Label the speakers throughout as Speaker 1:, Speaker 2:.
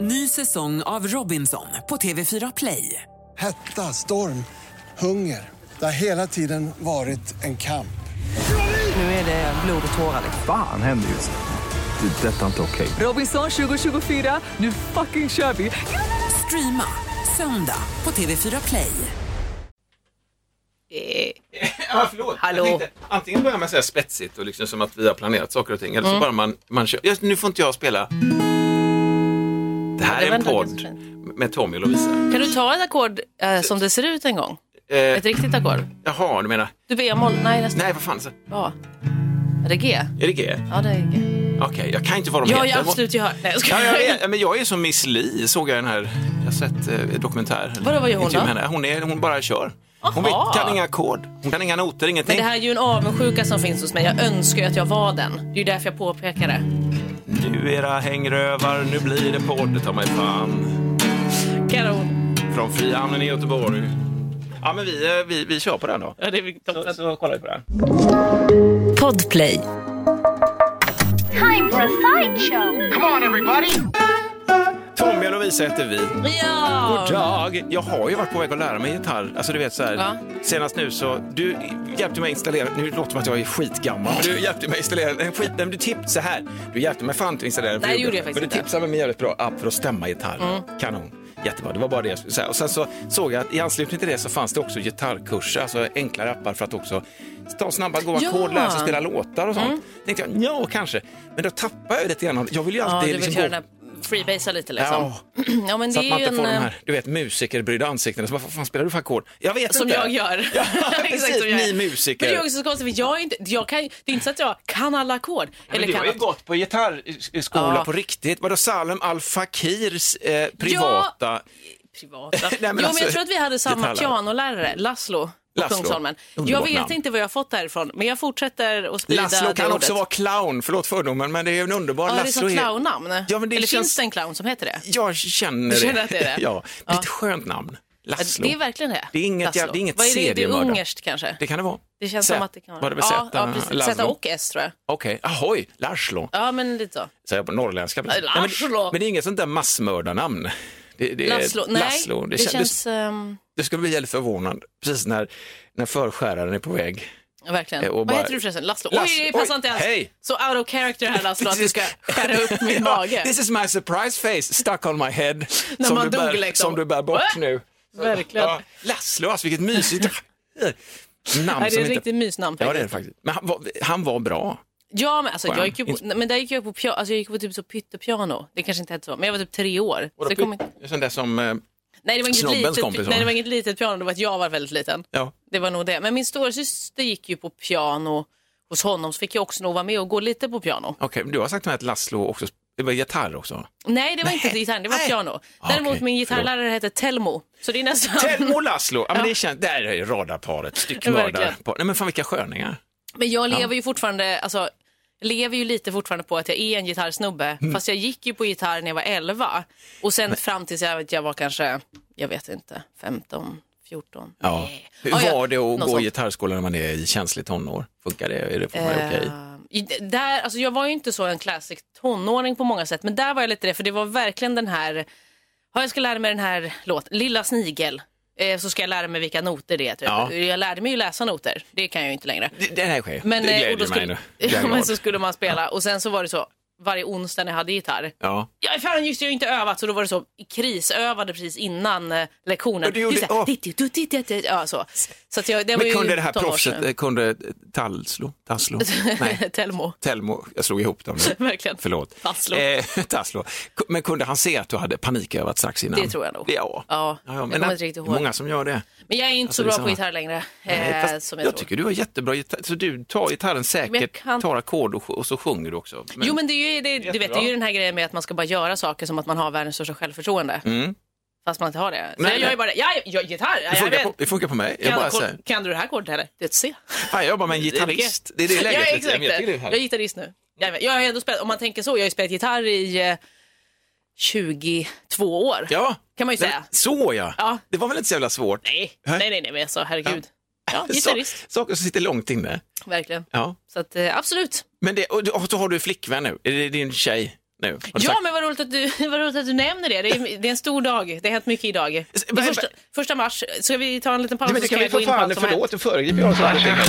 Speaker 1: Ny säsong av Robinson på TV4 Play.
Speaker 2: Hetta, storm, hunger. Det har hela tiden varit en kamp.
Speaker 1: Nu är det blod och tårar. liksom.
Speaker 3: Fan händer just nu. Det. är Detta är inte okej.
Speaker 1: Robinson 2024, nu fucking kör vi! Streama söndag på TV4 Play.
Speaker 4: Eh,
Speaker 5: Ja, Ah, förlåt.
Speaker 4: Hallå?
Speaker 5: Jag tänkte, Antingen börjar man säga spetsigt och liksom som att vi har planerat saker och ting eller så
Speaker 4: Mm.
Speaker 5: bara man, man kör. Ja, nu får inte jag spela. Det här
Speaker 4: det
Speaker 5: är
Speaker 4: var
Speaker 5: en
Speaker 4: ändå
Speaker 5: podd
Speaker 4: ganska
Speaker 5: med Tommy och Lovisa.
Speaker 4: Kan du ta ett ackord eh, som det ser ut en gång?
Speaker 5: Eh,
Speaker 4: Ett riktigt ackord?
Speaker 5: jaha, du menar.
Speaker 4: Du B-moll? Nej, nästan.
Speaker 5: Nej, vad fan. Så,
Speaker 4: A. Är det G?
Speaker 5: är det G?
Speaker 4: Ja, det är G.
Speaker 5: Okej, jag kan inte vad de
Speaker 4: Ja,
Speaker 5: heter.
Speaker 4: ja, absolut. Jag hör. Nej, jag
Speaker 5: Ja,
Speaker 4: skojar.
Speaker 5: jag, är, men jag är som Miss Li, såg jag i den här. Jag har sett eh, dokumentär.
Speaker 4: Vadå, vad gör hon
Speaker 5: intervju med
Speaker 4: då?
Speaker 5: henne. Hon, är, hon bara kör. Hon vet,
Speaker 4: Aha.
Speaker 5: kan inga ackord, hon kan inga noter,
Speaker 4: Men
Speaker 5: ingenting.
Speaker 4: det här är ju en avundsjuka som finns hos mig. Jag önskar ju att jag var den. Det är ju därför jag påpekar det.
Speaker 5: Nu era hängrövar, nu blir det podd, ta mig fan.
Speaker 4: Kanon.
Speaker 5: Från Frihamnen i Göteborg. Ja, men vi, eh, vi, vi kör på den då.
Speaker 4: Ja, det är toppen.
Speaker 5: Så, så kollar vi på den.
Speaker 6: Podplay.
Speaker 7: time for a sideshow.
Speaker 5: Tommy och Lovisa heter vi.
Speaker 4: Ja!
Speaker 5: Jag, jag har ju varit på väg att lära mig gitarr. Alltså du vet så här,
Speaker 4: Ja.
Speaker 5: senast nu så, du hjälpte mig installera, nu låter det som att jag är skitgammal, men du hjälpte mig installera, nej, skit, nej men du tipsade så här, du hjälpte mig fan att installera en
Speaker 4: Nej, det gjorde jag faktiskt
Speaker 5: Men du
Speaker 4: inte. Mm.
Speaker 5: tipsade mig med en jävligt bra app för att stämma gitarr. Kanon. Jättebra, det var bara det jag skulle säga. Och sen så såg jag att i anslutning till det så fanns det också gitarrkurser, alltså enklare appar för att också ta snabba, goa
Speaker 4: Ja. Mm.
Speaker 5: ackord, lära sig spela låtar och sånt. Tänkte jag, ja kanske. Men då tappar jag ju lite grann, av- jag vill ju
Speaker 4: Ja,
Speaker 5: alltid
Speaker 4: du vill
Speaker 5: liksom
Speaker 4: köra
Speaker 5: gå-
Speaker 4: den här freebasea lite liksom.
Speaker 5: Ja.
Speaker 4: Ja, men
Speaker 5: så
Speaker 4: det
Speaker 5: att
Speaker 4: är
Speaker 5: man
Speaker 4: ju
Speaker 5: inte får
Speaker 4: en...
Speaker 5: de
Speaker 4: eh,
Speaker 5: här, du vet, musikerbrydda ansikten. Så, Vad fan spelar du för ackord? Jag vet
Speaker 4: Som
Speaker 5: inte.
Speaker 4: jag gör.
Speaker 5: Ja,
Speaker 4: Exakt
Speaker 5: precis,
Speaker 4: som jag
Speaker 5: ni
Speaker 4: gör.
Speaker 5: musiker.
Speaker 4: Men det är också så konstigt för jag är inte, jag kan, ju- det är inte så att jag kan alla ackord.
Speaker 5: Men du
Speaker 4: kan
Speaker 5: har ju
Speaker 4: att-
Speaker 5: gått på gitarrskola
Speaker 4: Ja.
Speaker 5: på riktigt. Vadå Salem Al Fakirs eh, privata...
Speaker 4: privata.
Speaker 5: Nej, men
Speaker 4: jo, men
Speaker 5: alltså,
Speaker 4: jag tror att vi hade samma
Speaker 5: detaljer.
Speaker 4: pianolärare, Laszlo. på
Speaker 5: Laszlo.
Speaker 4: Kungsholmen. Jag
Speaker 5: Underbart
Speaker 4: vet
Speaker 5: namn.
Speaker 4: inte vad jag har fått därifrån, men jag fortsätter att sprida
Speaker 5: Laszlo
Speaker 4: det
Speaker 5: kan
Speaker 4: ordet.
Speaker 5: också vara clown. Förlåt fördomen, men det är en underbar...
Speaker 4: Ja, det är
Speaker 5: Laszlo
Speaker 4: som clownnamn.
Speaker 5: Ja, men det
Speaker 4: Eller
Speaker 5: känns-
Speaker 4: finns det en clown som heter det?
Speaker 5: Jag känner det.
Speaker 4: Du känner att det är det?
Speaker 5: ja. Det är
Speaker 4: Ja.
Speaker 5: ett skönt namn. Laszlo.
Speaker 4: Det är verkligen det.
Speaker 5: Det är inget,
Speaker 4: Laszlo.
Speaker 5: jävla- det är inget
Speaker 4: Vad är det? Det är
Speaker 5: seriemördare.
Speaker 4: ungerskt kanske?
Speaker 5: Det kan det vara.
Speaker 4: Det känns
Speaker 5: Z.
Speaker 4: som att det kan vara
Speaker 5: Var det väl
Speaker 4: ja,
Speaker 5: Z?
Speaker 4: ja, precis. Z och S tror jag.
Speaker 5: Okej, ahoj, Laszlo.
Speaker 4: Ja, men lite så.
Speaker 5: Säger jag på norrländska? precis.
Speaker 4: Nej,
Speaker 5: Nej,
Speaker 4: Laszlo.
Speaker 5: men, men det är inget sånt där massmördarnamn. Det, det är-
Speaker 4: Laszlo. Nej,
Speaker 5: Laszlo.
Speaker 4: det,
Speaker 5: Det, kändes,
Speaker 4: känns... ehm,
Speaker 5: Du skulle bli jävligt förvånad precis när, när förskäraren är på väg.
Speaker 4: Verkligen.
Speaker 5: Eh, och
Speaker 4: Vad
Speaker 5: bara-
Speaker 4: heter du förresten? Laszlo?
Speaker 5: Lass-
Speaker 4: Oj, det passar
Speaker 5: oj,
Speaker 4: inte alls.
Speaker 5: hej!
Speaker 4: Så out of character här Laszlo, att du ska skära upp min
Speaker 5: Ja,
Speaker 4: mage.
Speaker 5: This is my surprise face stuck on my head.
Speaker 4: När
Speaker 5: som,
Speaker 4: man
Speaker 5: du
Speaker 4: dog,
Speaker 5: bär,
Speaker 4: liksom.
Speaker 5: som du bär bort
Speaker 4: Va?
Speaker 5: nu.
Speaker 4: Verkligen.
Speaker 5: Ja, Laszlo, alltså vilket mysigt namn.
Speaker 4: Nej, det
Speaker 5: som
Speaker 4: är ett riktigt mysnamn
Speaker 5: Ja, det är
Speaker 4: faktiskt.
Speaker 5: det faktiskt. Men han var, han var bra.
Speaker 4: Ja, men, alltså,
Speaker 5: Skön.
Speaker 4: jag gick ju på,
Speaker 5: Inte-
Speaker 4: nej, men där gick jag på, pia- alltså, jag gick på typ så pyttepiano. Det kanske inte hette så, men jag var typ tre år. Så det kom, inte-
Speaker 5: Sån där som... eh,
Speaker 4: nej, det var inget
Speaker 5: Snobbens
Speaker 4: litet,
Speaker 5: kompis, va?
Speaker 4: nej, det var inget litet piano, det var att jag var väldigt liten.
Speaker 5: Ja.
Speaker 4: Det var nog det. Men min storasyster gick ju på piano hos honom, så fick jag också nog vara med och gå lite på piano.
Speaker 5: Okej, men du har sagt att Laszlo också... Det var gitarr också.
Speaker 4: Nej, det var inte gitarr, det var
Speaker 5: Nej.
Speaker 4: piano.
Speaker 5: Ah,
Speaker 4: Däremot
Speaker 5: okej.
Speaker 4: min gitarrlärare hette Telmo, så det är nästan...
Speaker 5: Telmo och Laszlo, ja, men det känns, där är ju radarparet, styckmördarparet.
Speaker 4: Verkligen.
Speaker 5: Nej men fan vilka sköningar.
Speaker 4: Men jag lever ju fortfarande, alltså, lever ju lite fortfarande på att jag är en gitarrsnubbe.
Speaker 5: Mm.
Speaker 4: Fast jag gick ju på gitarr när jag var 11 och sen fram tills jag, jag var kanske, jag vet inte, 15, 14.
Speaker 5: Ja.
Speaker 4: Nej. Ah,
Speaker 5: Hur
Speaker 4: Ja, jag-
Speaker 5: var det att
Speaker 4: något
Speaker 5: gå
Speaker 4: sånt.
Speaker 5: gitarrskola när man är i känslig tonår? Funkar det? Är det
Speaker 4: Eh.
Speaker 5: fortfarande okej?
Speaker 4: I- Där, alltså jag var ju inte så en classic tonåring på många sätt, men där var jag lite det, för det var verkligen den här, ja, jag ska lära mig den här låten, Lilla snigel, eh, så ska jag lära mig vilka noter det är. Typ.
Speaker 5: Ja.
Speaker 4: Jag lärde mig ju läsa noter, det kan jag ju inte längre.
Speaker 5: Det, det här sker.
Speaker 4: Men,
Speaker 5: det
Speaker 4: eh,
Speaker 5: gläder
Speaker 4: och då
Speaker 5: mig
Speaker 4: skulle,
Speaker 5: nu. Jag är
Speaker 4: ja, men
Speaker 5: glad.
Speaker 4: så skulle man spela och sen så var det så varje onsdag när jag hade gitarr.
Speaker 5: Ja.
Speaker 4: Ja, fan just det, jag har inte övat så då var det så krisövade precis innan eh, lektionen.
Speaker 5: Och du gjorde-
Speaker 4: Just det,
Speaker 5: åh.
Speaker 4: ditt, ditt, ditt, ditt, ditt, ditt, ja, så. Så att jag, det var
Speaker 5: Men
Speaker 4: ju
Speaker 5: kunde det här
Speaker 4: tonårs-
Speaker 5: proffset, eh, kunde Tasslo, Tasslo, nej,
Speaker 4: Telmo,
Speaker 5: Telmo, jag slog ihop dem nu.
Speaker 4: verkligen.
Speaker 5: Förlåt.
Speaker 4: Tasslo.
Speaker 5: Eh, Tasslo. Ku- Men kunde han se att du hade panikövat strax innan?
Speaker 4: Det tror jag nog.
Speaker 5: Ja.
Speaker 4: Ja, jag
Speaker 5: men
Speaker 4: kommer
Speaker 5: att-
Speaker 4: inte riktigt ihåg.
Speaker 5: Många som gör det.
Speaker 4: Men jag är inte
Speaker 5: Alltså,
Speaker 4: så bra
Speaker 5: det är
Speaker 4: på
Speaker 5: samma.
Speaker 4: gitarr längre.
Speaker 5: Nej,
Speaker 4: eh,
Speaker 5: fast
Speaker 4: som jag,
Speaker 5: jag,
Speaker 4: tror.
Speaker 5: tycker du har jättebra gitarr, så du tar gitarren säkert,
Speaker 4: kan-
Speaker 5: tar ackord och, och så sjunger du också. Men-
Speaker 4: Jo men det är, ju, det, du vet, det är ju den här grejen med att man ska bara göra saker som att man har världens största självförtroende. Fast man inte har det. Så jag
Speaker 5: Mm. Nej,
Speaker 4: gör
Speaker 5: nej.
Speaker 4: ju bara det. Ja, jag, jag, gitarr, ja,
Speaker 5: det,
Speaker 4: jag
Speaker 5: funkar
Speaker 4: vet.
Speaker 5: på, det funkar på mig. Jag
Speaker 4: kan,
Speaker 5: bara säger,
Speaker 4: kan du det här ackordet eller? Det är ett C.
Speaker 5: fan, jag jobbar med en gitarrist. Det är det läget.
Speaker 4: Ja,
Speaker 5: lite.
Speaker 4: exakt.
Speaker 5: Men jag tycker det är
Speaker 4: Jag är
Speaker 5: härligt.
Speaker 4: gitarrist nu. Jajamän. Jag har ändå spelat, om man tänker så, jag har ju spelat gitarr i eh, 22 år.
Speaker 5: Ja,
Speaker 4: Kan man ju
Speaker 5: men-
Speaker 4: säga.
Speaker 5: Så ja.
Speaker 4: Ja.
Speaker 5: Det var väl inte så jävla svårt?
Speaker 4: Nej, nej, nej, nej men alltså herregud. Ja,
Speaker 5: Så-
Speaker 4: gitarrist,
Speaker 5: Saker som sitter långt inne.
Speaker 4: verkligen.
Speaker 5: Ja.
Speaker 4: Så att, eh, absolut.
Speaker 5: Men det, och, och så har du flickvän nu, är det din tjej? nu. Har du
Speaker 4: Ja,
Speaker 5: sagt-
Speaker 4: men vad roligt, att du, vad roligt att du nämner det. Det är, det är en stor dag. Det har hänt mycket idag. Det är
Speaker 5: men-
Speaker 4: första, första mars. Ska vi ta en liten paus?
Speaker 5: Nej, men
Speaker 4: så kan
Speaker 5: det ska vi
Speaker 4: jag gå
Speaker 5: för
Speaker 4: in på allt som
Speaker 5: fan,
Speaker 4: har hänt.
Speaker 5: förlåt, du föregriper jag. så här.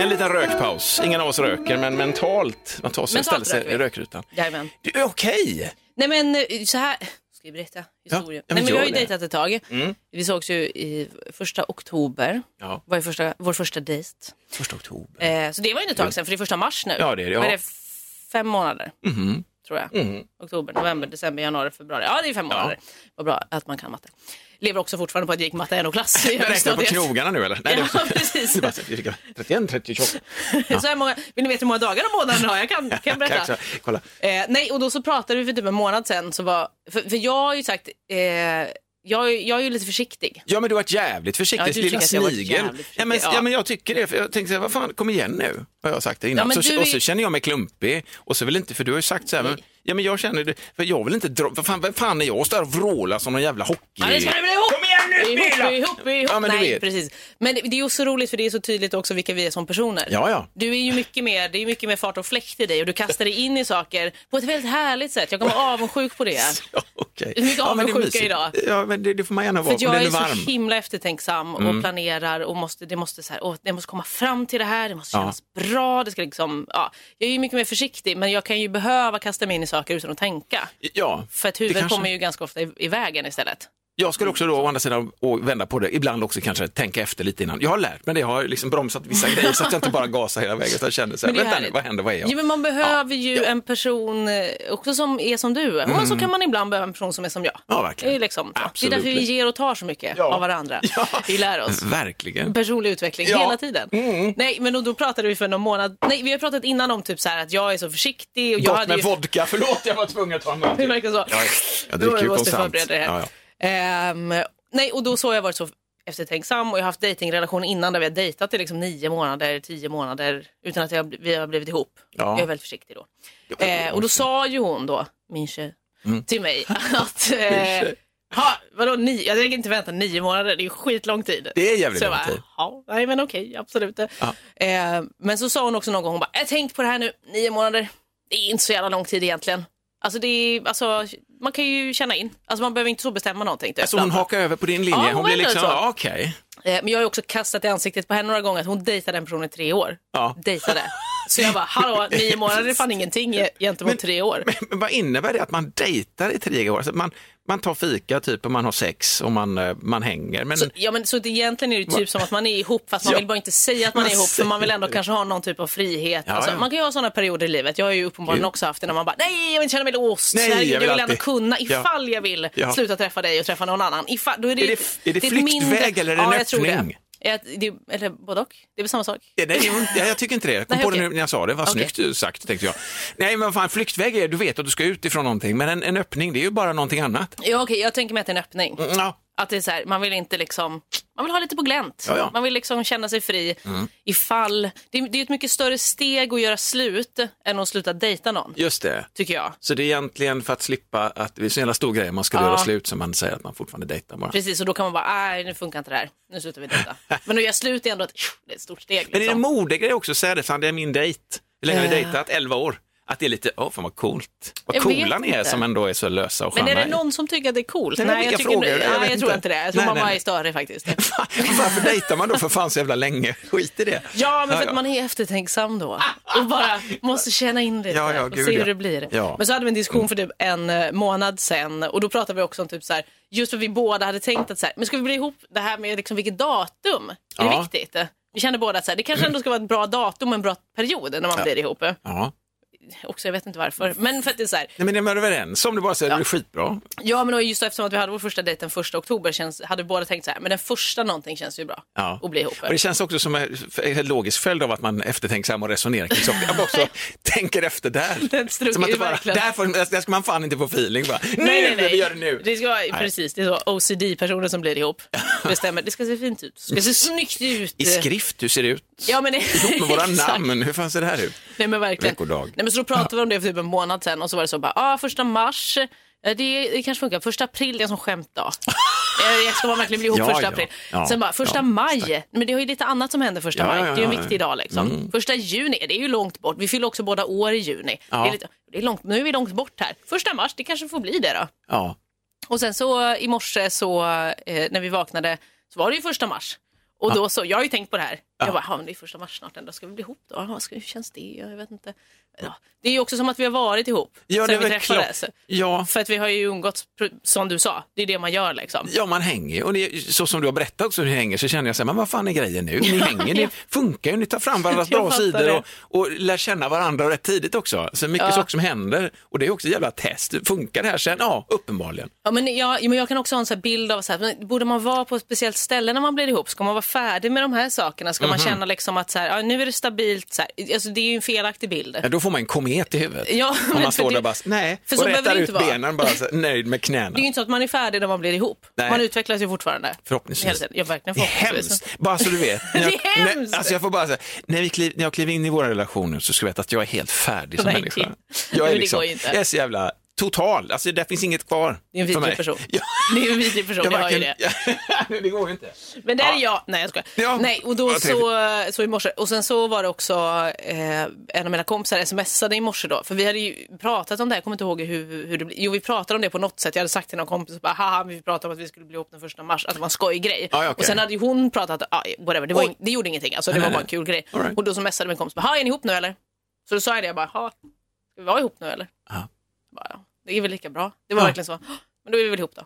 Speaker 5: En liten rökpaus. Ingen av oss röker, men mentalt. Man tar sig och ställer
Speaker 4: Mentalt
Speaker 5: sig
Speaker 4: röker vi.
Speaker 5: i rökrutan.
Speaker 4: Jajamän.
Speaker 5: Det är okej.
Speaker 4: Nej men eh, så här, ska jag berätta historien?
Speaker 5: ja,
Speaker 4: Nej, men
Speaker 5: men
Speaker 4: jag
Speaker 5: gör
Speaker 4: har ju
Speaker 5: det. Mm.
Speaker 4: dejtat ett tag. Vi sågs ju i första oktober,
Speaker 5: Ja.
Speaker 4: var ju första, vår första dejt.
Speaker 5: Första oktober.
Speaker 4: Eh, så det var ju ett tag sedan, för det är första mars nu.
Speaker 5: Ja, det är det, ja. Mm-hmm.
Speaker 4: Vad är det, f- fem månader? Tror jag. Oktober, november, december, januari, februari. Ja, det är fem månader. Vad bra att man kan matte. Lever också fortfarande på att jag gick matte i NO-klass i
Speaker 5: Jag räknar på
Speaker 4: högstadiet.
Speaker 5: knogarna nu eller? det-
Speaker 4: Ja, precis.
Speaker 5: Det är bara så- vi fick 31, 38.
Speaker 4: Så här många, vill ni veta hur många dagar och månader har? Jag kan, kan jag berätta.
Speaker 5: Kanske. Kolla.
Speaker 4: Eh, nej, och då så pratade vi för typ en månad sedan. Så var, för, för jag har ju sagt, eh, jag, är- jag är ju lite försiktig.
Speaker 5: Ja men du har varit jävligt försiktig,
Speaker 4: Ja, du
Speaker 5: lilla
Speaker 4: tycker att jag har varit
Speaker 5: snigel.
Speaker 4: jävligt försiktig,
Speaker 5: Ja, men, ja.
Speaker 4: ja.
Speaker 5: men jag tycker det, för jag tänkte så här, vad fan, kom igen nu, har jag sagt det
Speaker 4: Ja,
Speaker 5: innan.
Speaker 4: men
Speaker 5: så,
Speaker 4: du är-
Speaker 5: Och så känner jag mig klumpig, och så vill inte, för du har ju sagt så här, men, ja men jag känner det, för jag vill inte dra, vad fan, vad fan är jag och står här och vrålar som någon jävla hockey...
Speaker 4: Ja, det ska det bli ihop!
Speaker 5: Kom igen nu
Speaker 4: Ihop,
Speaker 5: Smilla!
Speaker 4: ihop, ihop.
Speaker 5: Ja, men du
Speaker 4: Nej,
Speaker 5: vet.
Speaker 4: precis. Men det, det är ju så roligt för det är så tydligt också vilka vi är som personer.
Speaker 5: Ja, ja.
Speaker 4: Du är ju mycket mer, det är mycket mer fart och fläkt i dig och du kastar dig in i saker på ett väldigt härligt sätt. Jag kommer vara avundsjuk på det.
Speaker 5: Ja, okej.
Speaker 4: Hur mycket
Speaker 5: ja, men det är
Speaker 4: avundsjuka
Speaker 5: mysigt.
Speaker 4: idag?
Speaker 5: Ja, men det, det får man gärna
Speaker 4: För
Speaker 5: vara,
Speaker 4: att
Speaker 5: om
Speaker 4: jag
Speaker 5: den
Speaker 4: är
Speaker 5: är varm. Mm.
Speaker 4: så himla eftertänksam och planerar och måste, det måste så här, åh, det måste komma fram till det här, det måste
Speaker 5: Ja.
Speaker 4: kännas bra, det ska liksom, ja. Jag är ju mycket mer försiktig men jag kan ju behöva kasta mig in i saker utan att tänka.
Speaker 5: Ja,
Speaker 4: För att
Speaker 5: det
Speaker 4: huvudet
Speaker 5: kanske-
Speaker 4: kommer ju ganska ofta i, i vägen istället.
Speaker 5: Jag skulle också då å andra sidan och vända på det, ibland också kanske tänka efter lite innan. Jag har lärt mig det, jag har liksom bromsat vissa grejer så att jag inte bara gasar hela vägen. Så jag kände så här,
Speaker 4: Men det är
Speaker 5: vänta nu,
Speaker 4: härligt.
Speaker 5: vad händer, vad är jag?
Speaker 4: Jo, men man behöver ju en person eh, också som är som du. Och så kan man ibland behöva en person som är som jag.
Speaker 5: Mm. Ja, verkligen.
Speaker 4: Det är, liksom, så. det är
Speaker 5: Absolut.
Speaker 4: därför vi ger och tar så mycket
Speaker 5: Ja.
Speaker 4: av varandra.
Speaker 5: Ja.
Speaker 4: Vi lär oss.
Speaker 5: Verkligen.
Speaker 4: Personlig utveckling
Speaker 5: Ja. Mm.
Speaker 4: hela tiden. Nej, men då, då pratade vi för någon månad. Nej, vi har pratat innan om typ så här att jag är så försiktig. Och jag
Speaker 5: Gott
Speaker 4: hade
Speaker 5: med
Speaker 4: ju...
Speaker 5: vodka, förlåt jag var tvungen att ta en
Speaker 4: Det
Speaker 5: mugg.
Speaker 4: verkar så.
Speaker 5: Ja, jag
Speaker 4: Då
Speaker 5: dricker ju
Speaker 4: måste jag
Speaker 5: konstant.
Speaker 4: förbereda det här.
Speaker 5: Ja, ja.
Speaker 4: Ehm, nej, och då så har jag varit så eftertänksam och jag har haft dejtingrelation innan där vi har dejtat i liksom nio månader, tio månader utan att jag, vi har blivit ihop.
Speaker 5: Ja.
Speaker 4: Jag är väldigt försiktig då. Eh, och då sa ju hon då, min tjej, till mig att... Eh,
Speaker 5: Mm. tjej.
Speaker 4: ha, vadå, nio, jag tänker inte vänta nio månader, det är ju skitlång tid.
Speaker 5: Det är jävligt
Speaker 4: så jag
Speaker 5: lång
Speaker 4: bara,
Speaker 5: tid.
Speaker 4: Ja, nej men okej, absolut. Eh, men så sa hon också någon gång, hon bara, jag har tänkt på det här nu, nio månader, det är inte så jävla lång tid egentligen. Alltså, det är, alltså man kan ju känna in, alltså man behöver inte så bestämma någonting. typ.
Speaker 5: Alltså hon hakar över på din linje,
Speaker 4: Ja,
Speaker 5: hon,
Speaker 4: hon
Speaker 5: blir
Speaker 4: ändrar
Speaker 5: liksom,
Speaker 4: så.
Speaker 5: ja, okej.
Speaker 4: Eh, Men jag har ju också kastat i ansiktet på henne några gånger att hon dejtade en person i tre år.
Speaker 5: Ja.
Speaker 4: Dejtade. Så jag bara, hallå, nio månader är fan ingenting ge- gentemot tre år.
Speaker 5: Men, men vad innebär det att man dejtar i tre år? Alltså, man, man tar fika typ och man har sex och man, eh, man hänger. Men,
Speaker 4: Så, ja, men, så det, egentligen är det typ som att man är ihop fast man
Speaker 5: Ja.
Speaker 4: vill bara inte säga att man,
Speaker 5: Man
Speaker 4: är ihop för
Speaker 5: säger
Speaker 4: man vill ändå
Speaker 5: det.
Speaker 4: kanske ha någon typ av frihet.
Speaker 5: Ja,
Speaker 4: alltså,
Speaker 5: ja.
Speaker 4: Man kan ju ha sådana perioder i livet. Jag har ju uppenbarligen
Speaker 5: Gud.
Speaker 4: också haft det när man bara nej jag vill inte känna mig låst.
Speaker 5: Nej,
Speaker 4: Herregud,
Speaker 5: jag vill
Speaker 4: jag vill ändå
Speaker 5: alltid-
Speaker 4: kunna
Speaker 5: Ja.
Speaker 4: ifall jag vill
Speaker 5: Ja.
Speaker 4: sluta träffa dig och träffa någon annan. Ifall, då är, det,
Speaker 5: Är det- är det
Speaker 4: ett
Speaker 5: flyktväg eller är det en
Speaker 4: ja, jag tror det.
Speaker 5: öppning?
Speaker 4: Ett- det. Eller både och. Det är väl samma sak.
Speaker 5: Ja, Nej, hon- ja, jag tycker inte det. Jag kom
Speaker 4: Nej,
Speaker 5: på det
Speaker 4: okej.
Speaker 5: nu när jag sa det. Vad
Speaker 4: Okej.
Speaker 5: snyggt sagt, tänkte jag. Nej, men vad fan, flyktväg är, du vet att du ska ut ifrån någonting, men en, en öppning, det är ju bara någonting annat.
Speaker 4: Ja, okej, jag tänker mig att det är en öppning.
Speaker 5: Mm, Ja,
Speaker 4: Att det är så här, man vill inte liksom, man vill ha lite på glänt.
Speaker 5: Ja, Mm. ja.
Speaker 4: Man vill liksom känna sig fri ifall, det, är- det är ett mycket större steg att göra slut än att sluta dejta någon,
Speaker 5: just det.
Speaker 4: tycker jag.
Speaker 5: Så det är egentligen för att slippa att det är så jävla stor grej man skulle
Speaker 4: Ja.
Speaker 5: göra slut som man säger att man fortfarande dejtar bara.
Speaker 4: Precis, och då kan man bara, nej nu funkar inte det här, nu slutar vi dejta. Men att göra slut är ändå ett, det är ett stort steg.
Speaker 5: Men är det en
Speaker 4: Liksom.
Speaker 5: modegrej också att säga det? Fan, det är min dejt. Hur länge har ni dejtat? 11 år. Att det är lite, åh fan vad coolt. Vad
Speaker 4: Eh. Jag vet
Speaker 5: coola ni är
Speaker 4: inte.
Speaker 5: som ändå är så lösa och
Speaker 4: Men
Speaker 5: sköna.
Speaker 4: är det någon som tycker att det är coolt?
Speaker 5: Nej, vilka
Speaker 4: jag,
Speaker 5: frågor? Jag
Speaker 4: nej,
Speaker 5: vet
Speaker 4: jag, tror
Speaker 5: inte.
Speaker 4: inte det. Jag tror
Speaker 5: Nej,
Speaker 4: man
Speaker 5: nej,
Speaker 4: bara
Speaker 5: nej.
Speaker 4: är störig faktiskt.
Speaker 5: Varför dejtar man då för fan så jävla länge? Skit i det.
Speaker 4: Ja, men
Speaker 5: Ja,
Speaker 4: för
Speaker 5: ja.
Speaker 4: att man är eftertänksam då. Och bara måste känna in det
Speaker 5: Ja,
Speaker 4: lite
Speaker 5: ja,
Speaker 4: och
Speaker 5: gud,
Speaker 4: se hur
Speaker 5: ja.
Speaker 4: det blir.
Speaker 5: Ja. Mm.
Speaker 4: Men så hade vi en diskussion för typ en eh, månad sen och då pratade vi också om typ så här, just för att vi båda hade tänkt att så här, men ska vi bli ihop det här med liksom vilket datum? Är
Speaker 5: Ja. Mm.
Speaker 4: det viktigt? Vi kände båda att så här, det kanske ändå ska vara ett bra datum och en bra period när man blir ihop.
Speaker 5: Ja.
Speaker 4: Också, jag vet inte varför. Men för att det är så här,
Speaker 5: Nej, men det är man överens om, det bara säger ja. det är skitbra.
Speaker 4: ja men och just eftersom att vi hade vår första dejt den första oktober känns, hade vi båda tänkt så här, men den första någonting känns ju bra
Speaker 5: Ja.
Speaker 4: att bli ihop.
Speaker 5: Och det känns också som en en logisk följd av att man eftertänksam och resonerar kring saker. Att man också tänker efter
Speaker 4: Den
Speaker 5: där.
Speaker 4: struntar
Speaker 5: Som att
Speaker 4: ju
Speaker 5: det bara,
Speaker 4: verkligen.
Speaker 5: där, får, där ska man fan inte få feeling bara. Nu, vi gör det nu.
Speaker 4: Det ska, vara- precis, det är så OCD-personer som blir ihop. Bestämmer, det ska se fint ut, det ska se snyggt ut.
Speaker 5: I skrift, hur ser det ut?
Speaker 4: Ja, men det,
Speaker 5: Ihop med våra
Speaker 4: Exakt.
Speaker 5: namn, hur fan ser det här ut?
Speaker 4: Nej men verkligen.
Speaker 5: Veckodag.
Speaker 4: Nej, men så då pratade vi om det för typ en månad sedan och så var det så bara, ah, första mars, eh, det, det kanske funkar, första april det är en sån skämtdag. Eh, Ska man verkligen bli ihop
Speaker 5: Ja,
Speaker 4: första
Speaker 5: ja.
Speaker 4: april?
Speaker 5: Ja,
Speaker 4: Sen bara, första
Speaker 5: ja,
Speaker 4: maj. Men det är ju lite annat som händer första
Speaker 5: Ja,
Speaker 4: maj.
Speaker 5: ja,
Speaker 4: Det är ju en
Speaker 5: ja, Mm.
Speaker 4: viktig
Speaker 5: ja.
Speaker 4: dag liksom. Första juni, det är ju långt bort. Vi fyller också båda år i juni.
Speaker 5: Ja.
Speaker 4: Det är lite, det är långt, nu är vi långt bort här. Första mars, det kanske får bli det då.
Speaker 5: Ja.
Speaker 4: Och sen så eh, i morse så eh, när vi vaknade så var det ju första mars. Och då så, jag har ju tänkt på det här. Jag bara, ja men det är första mars snart ändå, ska vi bli ihop då? Ja, ska, hur känns det? Ja, Jag vet inte. Ja. Det är ju också som att vi har varit ihop
Speaker 5: Ja, det är
Speaker 4: sen vi
Speaker 5: väl
Speaker 4: träffades.
Speaker 5: klart. Ja.
Speaker 4: För att vi har ju umgåtts, pr- som du sa, det är det man gör liksom.
Speaker 5: Ja, man hänger och det, så som du har berättat också hur ni hänger så känner jag så här, men vad fan är grejen nu? Ni hänger, ni funkar ju, ni tar fram varandras
Speaker 4: Jag
Speaker 5: bra
Speaker 4: fattar
Speaker 5: sidor
Speaker 4: det.
Speaker 5: och, och lär känna varandra rätt tidigt också. Så mycket saker som händer och det är också ett jävla test. Funkar det här sen? Ja, uppenbarligen.
Speaker 4: Ja, men jag, men jag kan också ha en så här bild av så här, men borde man vara på ett speciellt ställe när man blir ihop? Ska man vara färdig med de här sakerna? Ska
Speaker 5: Mhm.
Speaker 4: man känna liksom att så här, ja, nu är det stabilt? Så här. Alltså, det är ju en felaktig bild.
Speaker 5: Ja, då får man en komet i huvudet.
Speaker 4: Ja,
Speaker 5: Om
Speaker 4: men för
Speaker 5: man står
Speaker 4: det-
Speaker 5: där och bara, nej,
Speaker 4: för så
Speaker 5: och
Speaker 4: behöver
Speaker 5: rätar
Speaker 4: det
Speaker 5: ut
Speaker 4: inte vara.
Speaker 5: benen bara så här, nöjd med knäna.
Speaker 4: Det är ju inte så att man är färdig när man blir ihop.
Speaker 5: Nej.
Speaker 4: Man utvecklas ju fortfarande.
Speaker 5: Förhoppningsvis.
Speaker 4: Hela tiden. Ja, verkligen
Speaker 5: Det är
Speaker 4: förhoppningsvis.
Speaker 5: hemskt, bara så du vet. När jag,
Speaker 4: Det är hemskt.
Speaker 5: När, alltså jag får bara säga, när, vi kliv, när jag kliver in i våra relationer så ska du veta att jag är helt färdig som
Speaker 4: Nej,
Speaker 5: människa.
Speaker 4: det-
Speaker 5: Jag
Speaker 4: men
Speaker 5: är,
Speaker 4: det
Speaker 5: liksom,
Speaker 4: går ju inte.
Speaker 5: jag är så jävla total, alltså det finns inget kvar
Speaker 4: Det är en
Speaker 5: för
Speaker 4: vidrig
Speaker 5: mig.
Speaker 4: person.
Speaker 5: Jag,
Speaker 4: Det är en vidrig person, jag hör ju det.
Speaker 5: det. det går ju inte.
Speaker 4: Men där är jag. Nej, jag skojar.
Speaker 5: Ja,
Speaker 4: Nej, och då
Speaker 5: vad
Speaker 4: så, så i morse. Och sen så var det också eh, en av mina kompisar smsade i morse då. För vi hade ju pratat om det här. Jag kommer inte ihåg hur, hur det blev. Jo, vi pratade om det på något sätt. Jag hade sagt till någon kompis, bara, haha, vi pratade om att vi skulle bli ihop den första mars. Att det var en skojgrej.
Speaker 5: Ja, ja, okej.
Speaker 4: Och sen hade ju hon pratat, ah, whatever. Det, var
Speaker 5: Oj.
Speaker 4: ing- det gjorde ingenting. Alltså, det
Speaker 5: Nej,
Speaker 4: var
Speaker 5: nej,
Speaker 4: bara en kul grej.
Speaker 5: All right.
Speaker 4: Och då så messade min kompis, bara, "Ha, är ni ihop nu eller? Så då sa jag det, jag bara, "Ha, ska vi vara ihop nu eller?
Speaker 5: Ja.
Speaker 4: Bara, "Ja, det är väl lika bra. Det var verkligen så, "Hå, men då är vi väl ihop då.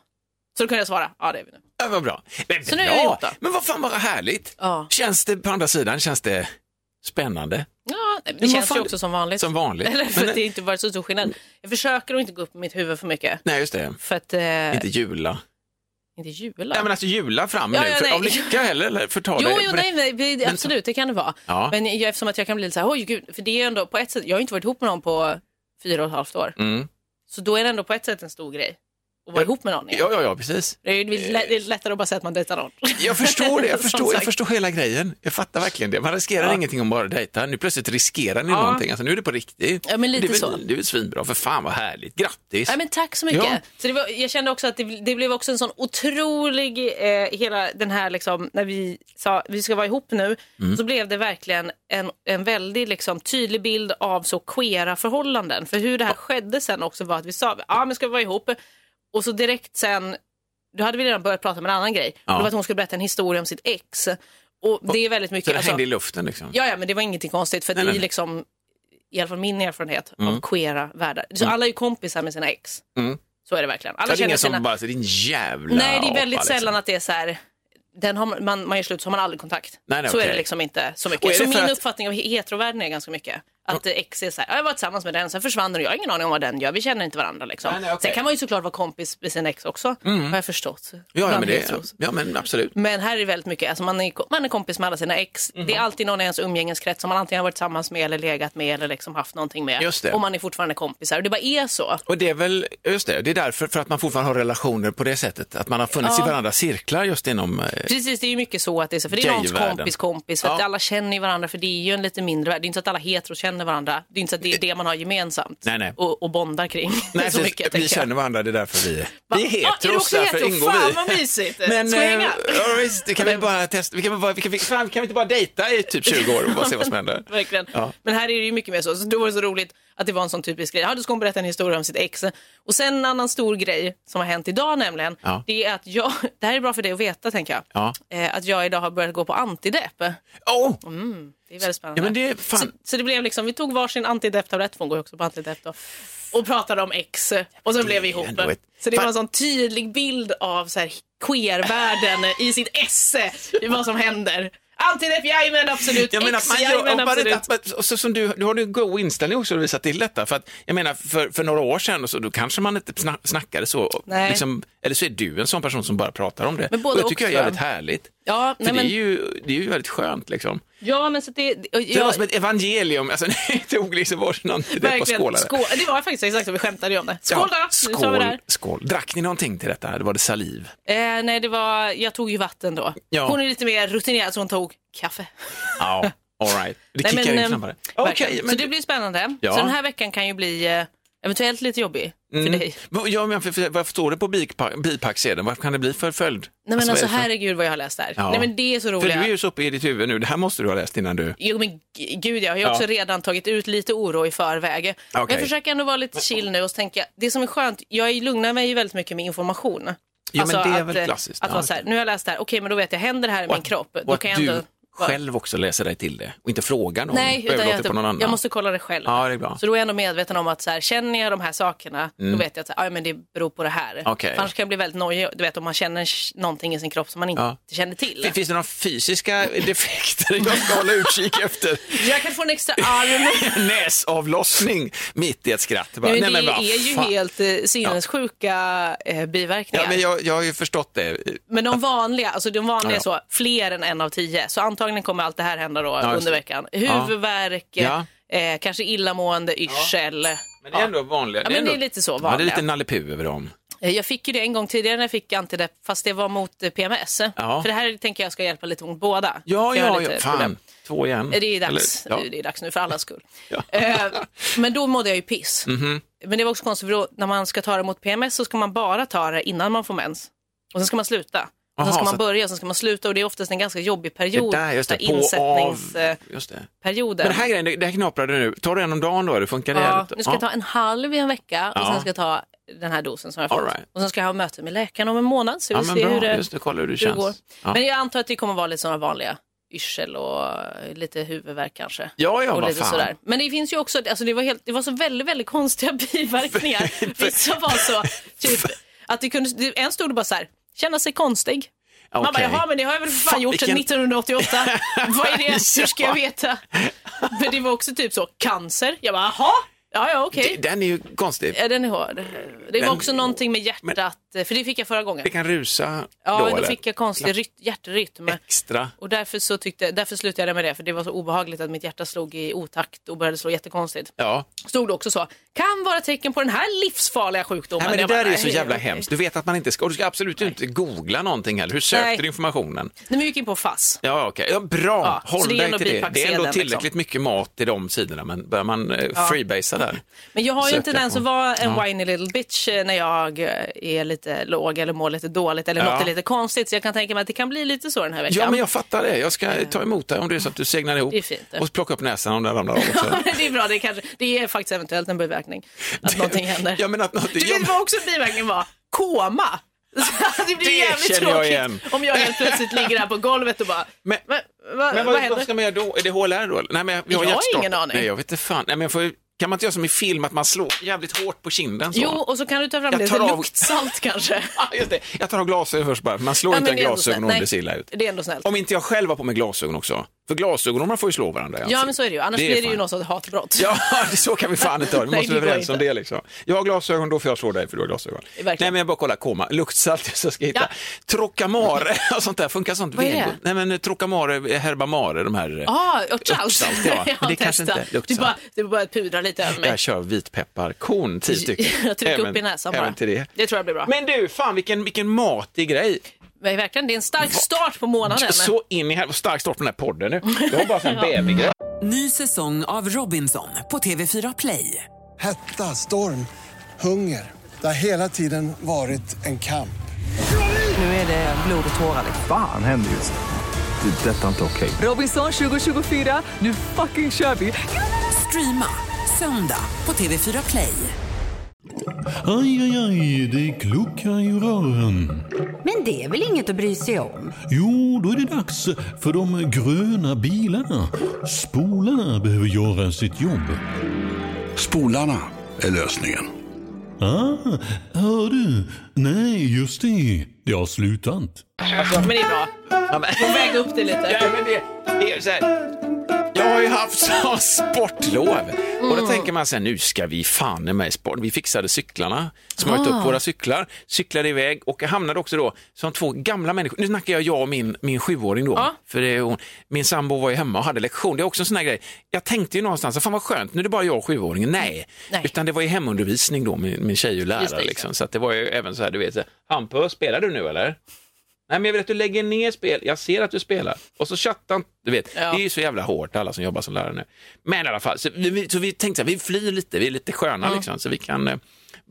Speaker 4: Så då kunde jag svara, ja det är vi nu.
Speaker 5: Ja, vad bra. Men,
Speaker 4: Så nu är
Speaker 5: bra.
Speaker 4: jag ihop då.
Speaker 5: Men vad fan vad härligt.
Speaker 4: Ja.
Speaker 5: Känns det på andra sidan, känns det spännande?
Speaker 4: Ja, nej, men det
Speaker 5: Men vad
Speaker 4: känns
Speaker 5: fan-
Speaker 4: ju också som vanligt.
Speaker 5: Som vanligt.
Speaker 4: Eller för
Speaker 5: Men-
Speaker 4: att det inte varit så stor skillnad. Jag försöker att inte gå upp i mitt huvud för mycket.
Speaker 5: Nej, just det.
Speaker 4: För att... Eh,
Speaker 5: Inte
Speaker 4: inte,
Speaker 5: jula.
Speaker 4: jula.
Speaker 5: Nej, men alltså jula fram
Speaker 4: Ja,
Speaker 5: nu.
Speaker 4: ja,
Speaker 5: för,
Speaker 4: nej.
Speaker 5: av lycka heller, eller förtal.
Speaker 4: Jo,
Speaker 5: dig.
Speaker 4: jo, nej, nej, vi- absolut, det kan det vara.
Speaker 5: Ja.
Speaker 4: Men jag, eftersom att jag kan bli lite så här, oj gud, för det är ju ändå på ett sätt, jag har ju inte varit ihop med någon på fyra och ett halvt år.
Speaker 5: Mm.
Speaker 4: Så då är det ändå på ett sätt en stor grej att vara ihop med någon. igen.
Speaker 5: Ja, ja, ja, precis.
Speaker 4: Det är ju lä- det är lättare att bara säga att man dejtar någon.
Speaker 5: Jag förstår det, jag
Speaker 4: Som
Speaker 5: förstår, jag
Speaker 4: sagt.
Speaker 5: förstår hela grejen. Jag fattar verkligen det. Man riskerar ingenting om bara dejtar. Nu plötsligt riskerar ni
Speaker 4: Ja.
Speaker 5: någonting. Alltså, nu är det på riktigt.
Speaker 4: Ja, men lite
Speaker 5: det, är väl,
Speaker 4: så.
Speaker 5: det är väl svinbra, för fan vad härligt. Grattis!
Speaker 4: Ja, men tack så mycket.
Speaker 5: Ja.
Speaker 4: Så det var, jag kände också att det, det blev också en sån otrolig, eh, hela den här liksom, när vi sa vi ska vara ihop nu,
Speaker 5: Mm.
Speaker 4: så blev det verkligen en, en väldigt liksom, tydlig bild av så queera förhållanden. För hur det här skedde sen också var att vi sa, ja ah, men ska vi vara ihop? Och så direkt sen, då hade vi redan börjat prata om en annan grej.
Speaker 5: Ja.
Speaker 4: Det var att hon skulle berätta en historia om sitt ex. Och det är väldigt mycket...
Speaker 5: så det
Speaker 4: alltså-
Speaker 5: hängde i luften liksom.
Speaker 4: Ja, ja, men det var ingenting konstigt för
Speaker 5: Nej,
Speaker 4: det är
Speaker 5: nej.
Speaker 4: liksom, i alla fall min erfarenhet av queera världar. Så alla är ju kompisar med sina ex.
Speaker 5: Mm.
Speaker 4: Så är det verkligen.
Speaker 5: det
Speaker 4: Alla
Speaker 5: är
Speaker 4: känner
Speaker 5: ingen
Speaker 4: sina...
Speaker 5: som bara säger din jävla
Speaker 4: Nej, det
Speaker 5: apa",
Speaker 4: är väldigt
Speaker 5: liksom.
Speaker 4: sällan att det är så här, den har man, man, man gör slut så har man aldrig kontakt.
Speaker 5: Nej, nej,
Speaker 4: så är det
Speaker 5: okej.
Speaker 4: liksom inte så
Speaker 5: Och är
Speaker 4: mycket.
Speaker 5: det
Speaker 4: Så
Speaker 5: för
Speaker 4: min
Speaker 5: att- Mm.
Speaker 4: uppfattning av he- heterovärlden är ganska mycket. Att eh, ex är så här, "Ja, jag var tillsammans med den, sen försvann den och jag har ingen aning om vad den gör, vi känner inte varandra liksom.
Speaker 5: Nej, nej, okej. Mm.
Speaker 4: Sen kan man ju såklart vara kompis med sin ex också, har jag förstått.
Speaker 5: Ja, ja,
Speaker 4: Bland
Speaker 5: men
Speaker 4: heteros.
Speaker 5: det, ja, men absolut.
Speaker 4: Men här är det väldigt mycket, alltså man, är, man är kompis med alla sina ex.
Speaker 5: Mhm.
Speaker 4: Det är alltid någon i ens umgängeskrets som man antingen har varit tillsammans med eller legat med eller liksom haft någonting med.
Speaker 5: Just det.
Speaker 4: Och man är fortfarande kompisar och det bara är så.
Speaker 5: Och det är väl, just det, det är därför för att man fortfarande har relationer på det sättet. Att man har funnits i varandras cirklar just inom... eh,
Speaker 4: Precis, det är ju mycket så att det är så. För det är någons
Speaker 5: Gay-världen.
Speaker 4: kompis kompis. För att
Speaker 5: Ja.
Speaker 4: alla känner ju varandra för det är ju en lite mindre värld. Det är inte så att alla heteros känner varandra. Det är inte så att det är det man har gemensamt.
Speaker 5: Nej, nej.
Speaker 4: Och, och bondar kring.
Speaker 5: Nej,
Speaker 4: så
Speaker 5: precis.
Speaker 4: mycket,
Speaker 5: vi
Speaker 4: tänker jag.
Speaker 5: känner varandra, det är därför vi,
Speaker 4: Va?
Speaker 5: vi är
Speaker 4: Ja, är du
Speaker 5: heteros,
Speaker 4: också
Speaker 5: därför
Speaker 4: hetero?
Speaker 5: ingår vi.
Speaker 4: Fan, vad mysigt. Ska vi
Speaker 5: eh,
Speaker 4: hänga?
Speaker 5: ja, visst, det kan vi bara testa. Vi kan, väl bara, vi kan, vi, fan, kan vi inte bara dejta i typ 20 år och bara se vad som händer?
Speaker 4: Verkligen.
Speaker 5: Ja.
Speaker 4: Men här är det ju mycket mer så. så. Då var det så roligt att det var en sån typisk grej. Ja, då ska hon berätta en historia om sitt ex. Och sen en annan stor grej som har hänt idag nämligen.
Speaker 5: Ja.
Speaker 4: Det är att jag, det här är bra för dig att veta tänker jag.
Speaker 5: Ja.
Speaker 4: Eh, att jag idag har börjat gå på antidepp. Det
Speaker 5: Åh,
Speaker 4: Mm, är väldigt spännande.
Speaker 5: Ja, men det är fan-
Speaker 4: så, så det blev liksom, vi tog varsin antidepp-tablett, för hon går ju också på antidepp då. Och pratade om ex och så blev vi ihop.
Speaker 5: ändå ett-
Speaker 4: Så det var en
Speaker 5: Fan.
Speaker 4: sån tydlig bild av så här queervärlden i sitt esse. i Vad som händer. Antidepp, jajamän absolut.
Speaker 5: Jag menar,
Speaker 4: ex,
Speaker 5: att man gör,
Speaker 4: jajamän
Speaker 5: och bara
Speaker 4: absolut.
Speaker 5: det, att, man- och så, som du, du har ju en god inställning också att visa till detta. För att, jag menar, för, för några år sedan och så, då kanske man inte sna, snackade så. och
Speaker 4: Nej.
Speaker 5: Liksom, eller så är du en sån person som bara pratar om det.
Speaker 4: Men både
Speaker 5: och det tycker
Speaker 4: och,
Speaker 5: jag är
Speaker 4: tror jag.
Speaker 5: jävligt härligt.
Speaker 4: Ja,
Speaker 5: För
Speaker 4: nej,
Speaker 5: det,
Speaker 4: men-
Speaker 5: är ju, det är ju väldigt skönt liksom.
Speaker 4: Ja, men så att det... och
Speaker 5: Det
Speaker 4: Jag,
Speaker 5: var som ett evangelium, alltså ni tog liksom varsin antidepp och
Speaker 4: verkligen,
Speaker 5: skålade.
Speaker 4: skål. Det var faktiskt exakt som vi skämtade ju om det. Skål då!
Speaker 5: Ja,
Speaker 4: Nu tar vi det
Speaker 5: skål,
Speaker 4: här.
Speaker 5: skål. Drack ni någonting till detta? Det var det saliv?
Speaker 4: Eh, nej, det var... Jag tog ju vatten då.
Speaker 5: Ja.
Speaker 4: Hon är lite mer rutinerad så hon tog kaffe.
Speaker 5: Ja, all right. Det
Speaker 4: Nej,
Speaker 5: kickar
Speaker 4: men,
Speaker 5: in
Speaker 4: ehm,
Speaker 5: snabbare.
Speaker 4: verkligen. så det blir spännande.
Speaker 5: Ja.
Speaker 4: Så den här veckan kan ju bli eh, Eventuellt lite jobbig för dig.
Speaker 5: Men- Mm. Ja, men för, för, varför står det på bipa- bipacksedeln? Varför kan det bli för följd?
Speaker 4: Nej men alltså
Speaker 5: vad är det för-
Speaker 4: herregud vad jag har läst där.
Speaker 5: Ja.
Speaker 4: Nej men det är så
Speaker 5: För
Speaker 4: roliga.
Speaker 5: du är ju så uppe i ditt huvud nu, det här måste du ha läst innan du...
Speaker 4: Jo men g- gud jag har ju också
Speaker 5: Ja.
Speaker 4: redan tagit ut lite oro i förväg. Men jag försöker ändå vara lite chill nu och så tänker jag, det som är skönt, jag är- lugnar mig ju väldigt mycket med information.
Speaker 5: men det är
Speaker 4: att,
Speaker 5: väl
Speaker 4: eh,
Speaker 5: klassiskt,
Speaker 4: Att
Speaker 5: ja.
Speaker 4: vara så här, nu har jag läst det här, okej men då vet jag, händer det här i
Speaker 5: Och
Speaker 4: min
Speaker 5: att-
Speaker 4: kropp,
Speaker 5: och
Speaker 4: då
Speaker 5: att
Speaker 4: kan jag
Speaker 5: du
Speaker 4: ändå... vara-
Speaker 5: själv också läser dig till det och inte frågar någon
Speaker 4: Nej,
Speaker 5: och
Speaker 4: utan
Speaker 5: överlåter
Speaker 4: jag,
Speaker 5: på någon annan.
Speaker 4: jag måste kolla det själv.
Speaker 5: Ja, det är bra. Mm.
Speaker 4: Så då är jag ändå medveten om att så här, känner jag de här sakerna, då vet jag att så här, "Aj, men det beror på det här.
Speaker 5: Okej.
Speaker 4: För Annars kan jag bli väldigt nojig, du vet om man känner sh- någonting i sin kropp som man inte
Speaker 5: Ja.
Speaker 4: känner till.
Speaker 5: Fin- Finns det några fysiska defekter jag ska hålla utkik efter?
Speaker 4: Jag kan få en extra arm.
Speaker 5: Näsavlossning mitt i ett skratt. Bara,
Speaker 4: Nu,
Speaker 5: nej,
Speaker 4: det
Speaker 5: men vad
Speaker 4: är ju
Speaker 5: fan.
Speaker 4: helt eh, sinnessjuka eh, biverkningar.
Speaker 5: Ja, men
Speaker 4: men,
Speaker 5: jag, jag har ju förstått det.
Speaker 4: de vanliga, alltså de vanliga
Speaker 5: Ja,
Speaker 4: så, fler än en av tio. Så antagligen kommer allt det här hända då
Speaker 5: just det.
Speaker 4: under veckan. Huvudvärk,
Speaker 5: Ja.
Speaker 4: eh, kanske illamående, yrsel.
Speaker 5: Men det är ändå vanliga.
Speaker 4: Ja, men det är lite så
Speaker 5: Ja, det är
Speaker 4: vanliga.
Speaker 5: lite Nalle Puh över dem.
Speaker 4: Eh, Jag fick ju det en gång tidigare när jag fick antidepp, fast det var mot eh, PMS.
Speaker 5: Ja.
Speaker 4: För det här tänker jag ska hjälpa lite mot båda.
Speaker 5: Ja,
Speaker 4: För jag har
Speaker 5: ja,
Speaker 4: lite
Speaker 5: ja. Fan,
Speaker 4: problem.
Speaker 5: typ. två igen.
Speaker 4: Eh, Det är, dags.
Speaker 5: Eller, ja.
Speaker 4: det är dags nu för allas skull. Eh, Men då mådde jag ju piss.
Speaker 5: Mhm.
Speaker 4: Men det var också konstigt för då, när man ska ta det mot PMS så ska man bara ta det innan man får mens. Och sen ska man sluta. Och sen
Speaker 5: Aha,
Speaker 4: ska
Speaker 5: så-
Speaker 4: man börja och sen ska man sluta och det är oftast en ganska jobbig
Speaker 5: Det
Speaker 4: period.
Speaker 5: där, just det, på av...
Speaker 4: Insättningsperioden.
Speaker 5: Just det. Men det här grejen, det det här knaprar du nu. Tar du en om dagen då? eller funkar det?
Speaker 4: Ja,
Speaker 5: här?
Speaker 4: nu ska jag ta en halv i en vecka och
Speaker 5: Ja.
Speaker 4: sen ska jag ta den här dosen som jag har
Speaker 5: All
Speaker 4: fått.
Speaker 5: right.
Speaker 4: Och sen ska jag ha möte med läkaren om en månad så vi
Speaker 5: Ja,
Speaker 4: ser
Speaker 5: men
Speaker 4: hur
Speaker 5: bra.
Speaker 4: det,
Speaker 5: Just det, kolla hur det
Speaker 4: hur det går.
Speaker 5: känns. Ja.
Speaker 4: Men jag antar att det kommer vara lite sådana vanliga yrsel och eh, lite huvudvärk kanske.
Speaker 5: Ja, ja,
Speaker 4: och
Speaker 5: vad
Speaker 4: lite
Speaker 5: fan.
Speaker 4: sådär. Men det finns ju också, alltså det var, helt, det var så väldigt, väldigt konstiga biverkningar. Vissa var så, typ, att det kunde, det- en stod det bara så här, känna sig konstig. Man
Speaker 5: Okej.
Speaker 4: bara, jaha men det har jag väl för fan
Speaker 5: Fan,
Speaker 4: gjort sedan
Speaker 5: vilken-
Speaker 4: 1988. Vad är det, hur ska jag
Speaker 5: Ja.
Speaker 4: veta? Men det var också typ så, cancer. Jag bara, jaha, ja ja okej.
Speaker 5: Den är ju konstig.
Speaker 4: Ja, den är hård. Det var
Speaker 5: Den-
Speaker 4: också någonting med hjärtat, eh, för det fick jag förra gången.
Speaker 5: Det kan rusa
Speaker 4: Ja, då
Speaker 5: eller?
Speaker 4: fick jag konstig ryt- hjärtrytm.
Speaker 5: Extra.
Speaker 4: Och därför, så tyckte, därför slutade jag med det, för det var så obehagligt att mitt hjärta slog i otakt och började slå jättekonstigt.
Speaker 5: Ja.
Speaker 4: Stod det också så, kan vara tecken på den här livsfarliga sjukdomen.
Speaker 5: Nej, men det
Speaker 4: Jag bara,
Speaker 5: där är så
Speaker 4: nej,
Speaker 5: jävla
Speaker 4: okej.
Speaker 5: hemskt. Du vet att man inte ska, och du ska absolut inte googla någonting heller. Hur sökte
Speaker 4: Nej.
Speaker 5: du informationen?
Speaker 4: Nej, men vi gick in på FASS.
Speaker 5: Ja, okej. Ja, bra,
Speaker 4: Ja, så
Speaker 5: håll
Speaker 4: det är
Speaker 5: dig
Speaker 4: ändå
Speaker 5: till det. Det är ändå
Speaker 4: bipacksedeln,
Speaker 5: tillräckligt
Speaker 4: liksom.
Speaker 5: mycket mat i de sidorna, men börjar man eh, freebasea där?
Speaker 4: Men jag har ju
Speaker 5: Söka
Speaker 4: en tendens
Speaker 5: på.
Speaker 4: att vara en whiny little bitch eh, när jag eh, är lite låg eller mår lite dåligt eller
Speaker 5: Ja.
Speaker 4: något är lite konstigt. Så jag kan tänka mig att det kan bli lite så den här veckan.
Speaker 5: Ja, men jag fattar det. Jag ska ta emot dig om det är så att du segnar ihop
Speaker 4: Det är fint, det.
Speaker 5: och plocka upp näsan om den ramlar av. Också.
Speaker 4: det är bra, det är, kanske, det är faktiskt eventuellt en biverkning. Att någonting händer.
Speaker 5: Ja, men att någonting-
Speaker 4: Du
Speaker 5: ja,
Speaker 4: vet
Speaker 5: men-
Speaker 4: vad också biverkningen var? Koma. Så det blir
Speaker 5: Det
Speaker 4: jävligt
Speaker 5: känner jag
Speaker 4: tråkigt
Speaker 5: igen.
Speaker 4: om jag helt plötsligt ligger här på golvet och bara,
Speaker 5: Men-
Speaker 4: men, vad,
Speaker 5: Men
Speaker 4: vad
Speaker 5: vad,
Speaker 4: händer?
Speaker 5: vad ska man göra då? Är det HLR då? Nej, men vi har
Speaker 4: Jag har
Speaker 5: hjärtstopp.
Speaker 4: ingen aning.
Speaker 5: Nej, jag vet inte fan. Nej, men får, kan man inte göra som i film, att man slår jävligt hårt på kinden? Så?
Speaker 4: Jo, och så kan du ta fram
Speaker 5: Jag
Speaker 4: lite
Speaker 5: tar av-
Speaker 4: luktsalt kanske.
Speaker 5: Ah, just det. Jag tar av glasögon först bara, för man slår
Speaker 4: Ja,
Speaker 5: inte
Speaker 4: men
Speaker 5: en
Speaker 4: det är ändå
Speaker 5: glasögon
Speaker 4: snällt.
Speaker 5: om det
Speaker 4: Nej.
Speaker 5: ser illa ut.
Speaker 4: Det är ändå snällt.
Speaker 5: Om inte jag själv har på mig glasögon också. För glasögonormar får ju slå varandra i
Speaker 4: Ja,
Speaker 5: ansiktet.
Speaker 4: men så är det ju. Annars
Speaker 5: är
Speaker 4: blir det ju
Speaker 5: fan.
Speaker 4: något sorts hatbrott.
Speaker 5: Ja, det- så kan vi fan inte ha det. Vi
Speaker 4: Nej,
Speaker 5: måste
Speaker 4: det
Speaker 5: vara
Speaker 4: går
Speaker 5: överens om
Speaker 4: inte.
Speaker 5: det. Liksom. Jag har glasögon, då får jag slå dig för du har glasögon.
Speaker 4: Verkligen.
Speaker 5: Nej, men jag bara kollar koma. Luktsalt, så ska jag hitta.
Speaker 4: Ja.
Speaker 5: Trocamare och sånt där. Funkar sånt?
Speaker 4: Vad är
Speaker 5: Vego-
Speaker 4: det?
Speaker 5: Nej, men eh, Trocamare, Herbamare, de här. eh,
Speaker 4: Ah, örtsalt.
Speaker 5: Örtsalt, ja. Men det
Speaker 4: har
Speaker 5: kanske
Speaker 4: testat.
Speaker 5: inte är
Speaker 4: du
Speaker 5: luktsalt.
Speaker 4: bara, du bara pudrar lite över mig.
Speaker 5: Jag kör vitpepparkorn, tio stycken.
Speaker 4: Jag trycker upp i näsan bara.
Speaker 5: Även till det.
Speaker 4: tror jag blir bra. Men,
Speaker 5: Men du, fan vilken, vilken matig grej.
Speaker 4: verkligen, det är en stark start på månaden.
Speaker 5: Så in i helvete, stark start på den här podden nu. Jag har bara sån här bävergrej.
Speaker 1: Ny säsong av Robinson på TV4 Play.
Speaker 2: Hetta, storm, hunger. Det har hela tiden varit en kamp.
Speaker 1: Nu är det blod och tårar. liksom.
Speaker 3: Fan händer just det. Det är detta inte okej.
Speaker 1: Robinson 2024, nu fucking kör vi! Streama söndag på TV4 Play.
Speaker 8: Aj, aj, aj, det kluckar i rören.
Speaker 9: Men det är väl inget att bry sig om?
Speaker 8: Jo, då är det dags för de gröna bilarna. Spolarna behöver göra sitt jobb.
Speaker 10: Spolarna är lösningen.
Speaker 8: Ah, hör du? Nej, just det. Det har slutat.
Speaker 4: Men det är bra.
Speaker 5: Ja, men-
Speaker 4: Får väga upp det lite.
Speaker 5: Ja, men det, det är så här. Jag har ju haft så sportlov och
Speaker 4: Mm.
Speaker 5: då tänker man så här, nu ska vi fan i mig sport. Vi fixade cyklarna, smörjt
Speaker 4: Ah.
Speaker 5: upp våra cyklar, cyklade iväg och jag hamnade också då som två gamla människor. Nu snackar jag jag och min, min sjuåring då,
Speaker 4: Ja.
Speaker 5: för det är hon, min sambo var ju hemma och hade lektion. Det är också en sån här grej. Jag tänkte ju någonstans, fan vad skönt, nu är det bara jag och sjuåringen. Nej,
Speaker 4: Nej.
Speaker 5: utan det var ju hemundervisning då, min, min tjej och lärare.
Speaker 4: Just det, just det.
Speaker 5: liksom. Så att det var ju även så här, du vet, så här, Hampus, spelar du nu eller? Nej, men jag vill att du lägger ner spel. Jag ser att du spelar. Och så chattar han. Du vet, det är ju så jävla hårt alla som jobbar som lärare nu. Men i alla fall, så vi, vi- så vi tänkte så här, vi flyr lite, vi är lite sköna liksom, så vi kan eh,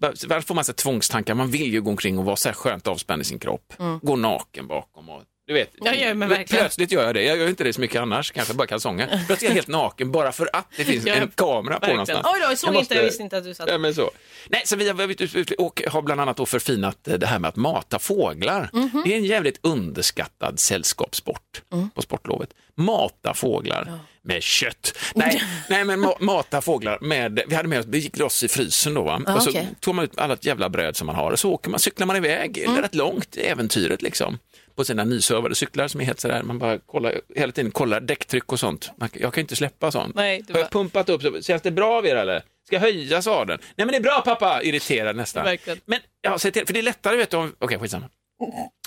Speaker 5: bara- så Varför får man så här tvångstankar? Man vill ju gå omkring och vara så här skönt avspänd i sin kropp. Gå naken bakom och du vet,
Speaker 4: Mm. Ja, ja, men
Speaker 5: du-
Speaker 4: verkligen.
Speaker 5: plötsligt gör jag det. Jag gör ju inte det så mycket annars, kanske bara kalsonger. Plötsligt är jag helt naken bara för att det finns
Speaker 4: Ja,
Speaker 5: en kamera på
Speaker 4: verkligen.
Speaker 5: någonstans.
Speaker 4: Oj då, jag såg inte, jag visste inte att du satt
Speaker 5: Ja, men så. Nej, så vi har varit ute ute och har bland annat då förfinat eh, det här med att mata fåglar.
Speaker 4: Mhm.
Speaker 5: Det är en jävligt underskattad sällskapssport
Speaker 4: Mm.
Speaker 5: på sportlovet. Mata fåglar med kött. Nej, nej men ma- mata fåglar med, vi hade med oss, vi gick loss i frysen då va?
Speaker 4: Ah,
Speaker 5: och så
Speaker 4: okej.
Speaker 5: tog man ut alla jävla bröd som man har och så åker man, cyklar man iväg
Speaker 4: Mm.
Speaker 5: rätt långt i äventyret liksom på sina nysövade cyklar som är helt sådär, man bara kollar, hela tiden kollar däcktryck och sånt. Man, jag kan inte släppa sånt.
Speaker 4: Nej, du
Speaker 5: har
Speaker 4: bara-
Speaker 5: jag pumpat upp, så, känns det bra av er eller? Ska jag höja sadeln? Nej men det är bra pappa! Irriterad nästan.
Speaker 4: Verkligen.
Speaker 5: Men, ja, säg till, för det är lättare vet du om, okej skitsamma.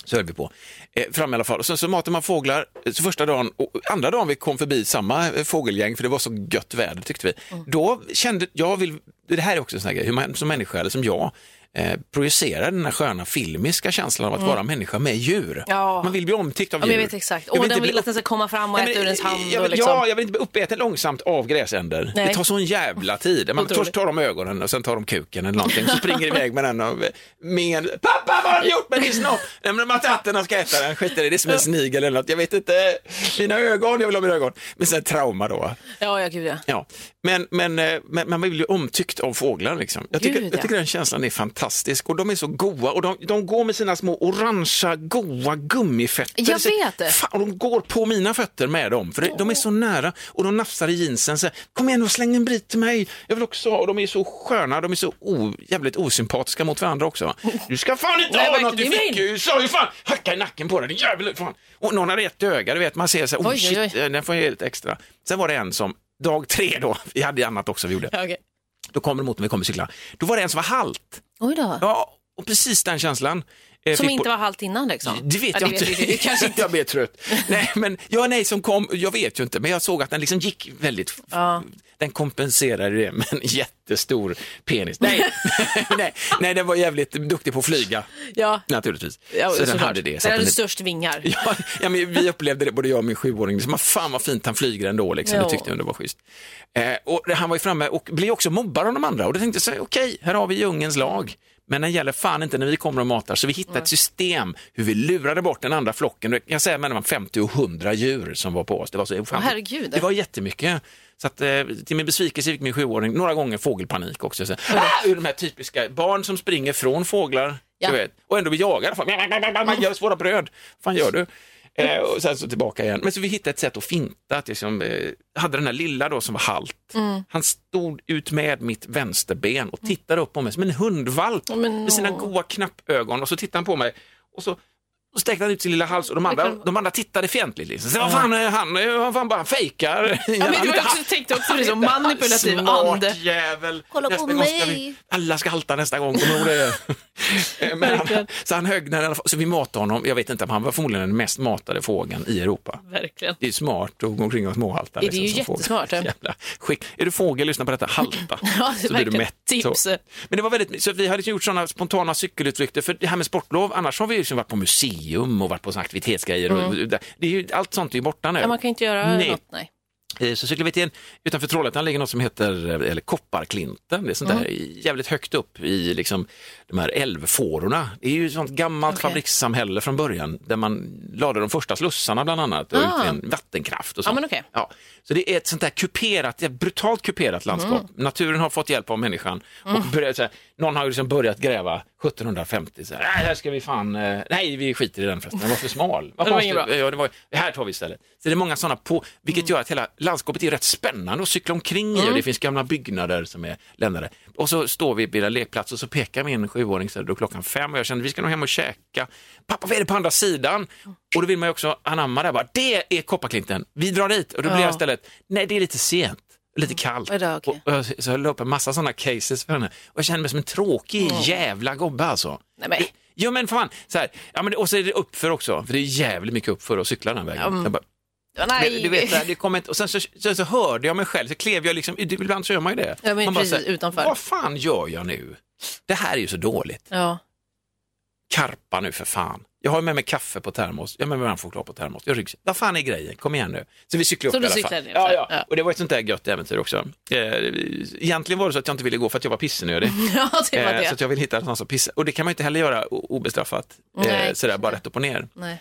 Speaker 5: Så höll vi på. Eh, fram i alla fall. Och sen så matade man fåglar. Eh, Så första dagen, och andra dagen vi kom förbi samma eh, fågelgäng, för det var så gött väder tyckte vi. Då kände jag, vill, det här är också en sån här grej, hur man som människa eller som jag, eh, projicerar den här sköna filmiska känslan av att vara människa med djur.
Speaker 4: Mm. Ja.
Speaker 5: Man vill bli omtyckt
Speaker 4: Ja,
Speaker 5: av
Speaker 4: men
Speaker 5: djur.
Speaker 4: jag vet exakt.
Speaker 5: Jag
Speaker 4: Och
Speaker 5: inte
Speaker 4: den
Speaker 5: bli
Speaker 4: vill att den ska komma fram och
Speaker 5: Nej, men,
Speaker 4: äta ur ens hand.
Speaker 5: jag
Speaker 4: och
Speaker 5: vill,
Speaker 4: liksom.
Speaker 5: Ja, jag vill inte bli uppäten långsamt av gräsänder.
Speaker 4: Nej.
Speaker 5: Det tar sån jävla tid. Man
Speaker 4: Otroligt.
Speaker 5: först tar de ögonen och sen tar de kuken eller någonting. Så springer iväg med den och med Pappa, vad har du gjort med din snopp? Nej, men de har tagit den och ska äta den. Skiter i det. Det är som en snigel eller något. Jag vet inte. Mina ögon, jag vill ha mina ögon. Men sen trauma då.
Speaker 4: ja, ja, gud ja.
Speaker 5: Ja, men, men, eh, men man blir ju omtyckt av fåglar. Liksom. Jag, tycker,
Speaker 4: Gud, ja.
Speaker 5: jag tycker den känslan är fantastisk och de är så goa och de, de går med sina små orangea goa gummifötter.
Speaker 4: Jag
Speaker 5: Det ser-
Speaker 4: vet det.
Speaker 5: Fan, och de går på mina fötter med dem för de- de är så nära och de nafsar i jeansen. Så här, Kom igen och släng en bit till mig. Jag vill också ha. Och de är så sköna. De är så o, jävligt osympatiska mot varandra också. Du ska fan inte
Speaker 4: Oh. Nej, verkligen,
Speaker 5: ha något. Du
Speaker 4: det är
Speaker 5: fick
Speaker 4: min.
Speaker 5: ju, sa ju fan, hacka i nacken på dig. din jävel. Fan. Och någon har ett öga. Du vet, man ser så här, oh,
Speaker 4: Oj, oj,
Speaker 5: shit,
Speaker 4: oj.
Speaker 5: Eh, Den får jag ge lite extra. Sen var det en som, dag tre då, vi hade ju annat också vi gjorde,
Speaker 4: ja okej.
Speaker 5: då kom de mot mig, vi kom och cykla. Då var det en som var halt.
Speaker 4: Oj då.
Speaker 5: Ja, och precis den känslan. eh,
Speaker 4: Som
Speaker 5: fick
Speaker 4: inte
Speaker 5: på-
Speaker 4: var halt innan liksom.
Speaker 5: Det vet
Speaker 4: ja,
Speaker 5: jag
Speaker 4: det
Speaker 5: inte.
Speaker 4: Vet vi, det kanske inte.
Speaker 5: jag blir trött. Nej, men ja, nej, som kom, jag vet ju inte, men jag såg att den liksom gick väldigt... Den kompenserade det med en jättestor penis. Nej, nej, nej, den var jävligt duktig på att flyga,
Speaker 4: Ja.
Speaker 5: naturligtvis.
Speaker 4: Ja,
Speaker 5: så den
Speaker 4: såklart.
Speaker 5: hade det. så
Speaker 4: Den
Speaker 5: att
Speaker 4: hade
Speaker 5: den-
Speaker 4: störst vingar.
Speaker 5: Ja, ja, men vi upplevde det, både jag och min sjuåring. Liksom, fan vad fint han flyger ändå. Liksom. Det
Speaker 4: Ja.
Speaker 5: tyckte jag det var schysst. Eh, och det- han var ju framme och blev också mobbad av de andra. Och då tänkte jag, så här, okej, här har vi djungelns lag. Men den gäller fan inte när vi kommer och matar. Så vi hittade ett system hur vi lurade bort den andra flocken. Jag kan säga mellan 50 och 100 djur som var på oss. Det var så
Speaker 4: Åh, herregud.
Speaker 5: Det var jättemycket. Så att, eh, till min besvikelse fick min sjuåring några gånger fågelpanik också. Så, här, ah! Ur de här typiska barn som springer från fåglar.
Speaker 4: Ja.
Speaker 5: Du vet, och ändå blir jagade. Fan, Man gör svåra bröd. fan gör du? Eh, och sen så tillbaka igen. Men så vi hittade ett sätt att finta. Att liksom, eh, hade den här lilla då som var halt. Han stod ut med mitt vänsterben och tittade upp på mig som en hundvalp
Speaker 4: men
Speaker 5: med sina
Speaker 4: åh.
Speaker 5: goa knappögon. Och så tittade han på mig och så och sträckte han ut sin lilla hals och de andra, de andra tittade fientligt. Liksom. Så, vad fan, eh, han, eh, vad fan bara han fejkar.
Speaker 4: Ja, men
Speaker 5: Han
Speaker 4: det var
Speaker 5: inte
Speaker 4: ju också,
Speaker 5: halt.
Speaker 4: tänkte också det som manipulativ
Speaker 5: Smart
Speaker 4: ande.
Speaker 5: jävel. nästa gång ska vi, alla ska halta nästa gång, kommer du ihåg det? Eh, Men han,
Speaker 4: Verkligen.
Speaker 5: så han högg den i alla fall. Så vi matade honom. Jag vet inte, men han var förmodligen den mest matade fågeln i Europa.
Speaker 4: Verkligen.
Speaker 5: Det är smart att gå omkring och småhalta. liksom,
Speaker 4: Det är ju
Speaker 5: som fågel.
Speaker 4: jättesmart, ja.
Speaker 5: Jävla skick. Är du fågel, lyssna på detta. Halta.
Speaker 4: Ja,
Speaker 5: så blir du
Speaker 4: verkligen.
Speaker 5: mätt.
Speaker 4: Tips.
Speaker 5: Så. Men det var väldigt, så vi hade gjort sådana spontana cykelutflykter. För det här med sportlov, annars har vi ju liksom varit på museum och varit på såna aktivitetsgrejer. Och, det är ju, allt sånt är ju borta nu.
Speaker 4: Mm. Ja, man kan ju inte göra
Speaker 5: Nej.
Speaker 4: något. Nej.
Speaker 5: Eh, Så cyklade vi till en, utanför Trollhättan ligger något som heter eh, eller Kopparklinten. Det är sånt där jävligt högt upp i liksom, de här älvfårorna. Det är ju sånt gammalt
Speaker 4: Okej.
Speaker 5: fabrikssamhälle från början där man lade de första slussarna bland annat och
Speaker 4: Ah.
Speaker 5: ut i en vattenkraft. Och sånt.
Speaker 4: Ja, men okej.
Speaker 5: ja. Så det är ett sånt där kuperat, ett brutalt kuperat
Speaker 4: Mm.
Speaker 5: landskap. Naturen har fått hjälp av människan. Och börjat, så här, någon har ju liksom börjat gräva 1750. Så här, "Nej, här ska vi fan, eh, nej vi skiter i den förresten, den var för smal. Vad
Speaker 4: Det var inget
Speaker 5: konstigt."
Speaker 4: bra.
Speaker 5: Ja, det var, det här tar vi istället. Så det är många sådana på, vilket
Speaker 4: Mm.
Speaker 5: gör att hela landskapet är rätt spännande att cykla omkring i och det finns gamla byggnader som är lämnade. Och så står vi vid en lekplats och så pekar min sjuåring så här, då är klockan fem och jag kände vi ska nog hem och käka. Pappa, vad är det på andra sidan? Och då vill man ju också anamma det här, bara, det är Kopparklinten, vi drar dit. Och då blir
Speaker 4: Ja. Mm.
Speaker 5: jag istället, nej det är lite sent. Lite kallt.
Speaker 4: Ja, det är okej.
Speaker 5: Och- och jag, så jag la upp en massa sådana cases för henne. Och jag kände mig som en tråkig jävla gobbe alltså.
Speaker 4: Nej, men-
Speaker 5: Jo men fan, så här. Ja, men, det- och så är det uppför också, för det är jävligt mycket uppför att cykla den här
Speaker 4: mm.
Speaker 5: vägen. Jag bara,
Speaker 4: Nej.
Speaker 5: men, du vet, det här, det kom ett, och sen så, sen så hörde jag mig själv, så klev jag liksom, ibland så gör man ju det.
Speaker 4: Ja, men
Speaker 5: man
Speaker 4: precis,
Speaker 5: så här,
Speaker 4: utanför.
Speaker 5: Vad fan gör jag nu? Det här är ju så dåligt.
Speaker 4: Ja.
Speaker 5: Karpa nu för fan. Jag har med mig kaffe på termos, jag har med mig varm choklad på termos, jag har ryggsäck. Vad fan är grejen? Kom igen nu. Så vi cyklade
Speaker 4: Så
Speaker 5: upp
Speaker 4: du
Speaker 5: i alla fall.
Speaker 4: cyklade ner,
Speaker 5: ja,
Speaker 4: så-
Speaker 5: ja.
Speaker 4: ja.
Speaker 5: Och det var ett sånt där gött äventyr också. Eh, egentligen var det så att jag inte ville gå för att jag var pissnödig.
Speaker 4: Ja, det var
Speaker 5: Eh, Så
Speaker 4: det.
Speaker 5: att jag vill hitta någon som pissar. Och det kan man ju inte heller göra o- obestraffat, eh,
Speaker 4: Nej.
Speaker 5: sådär bara rätt upp och ner.
Speaker 4: Nej.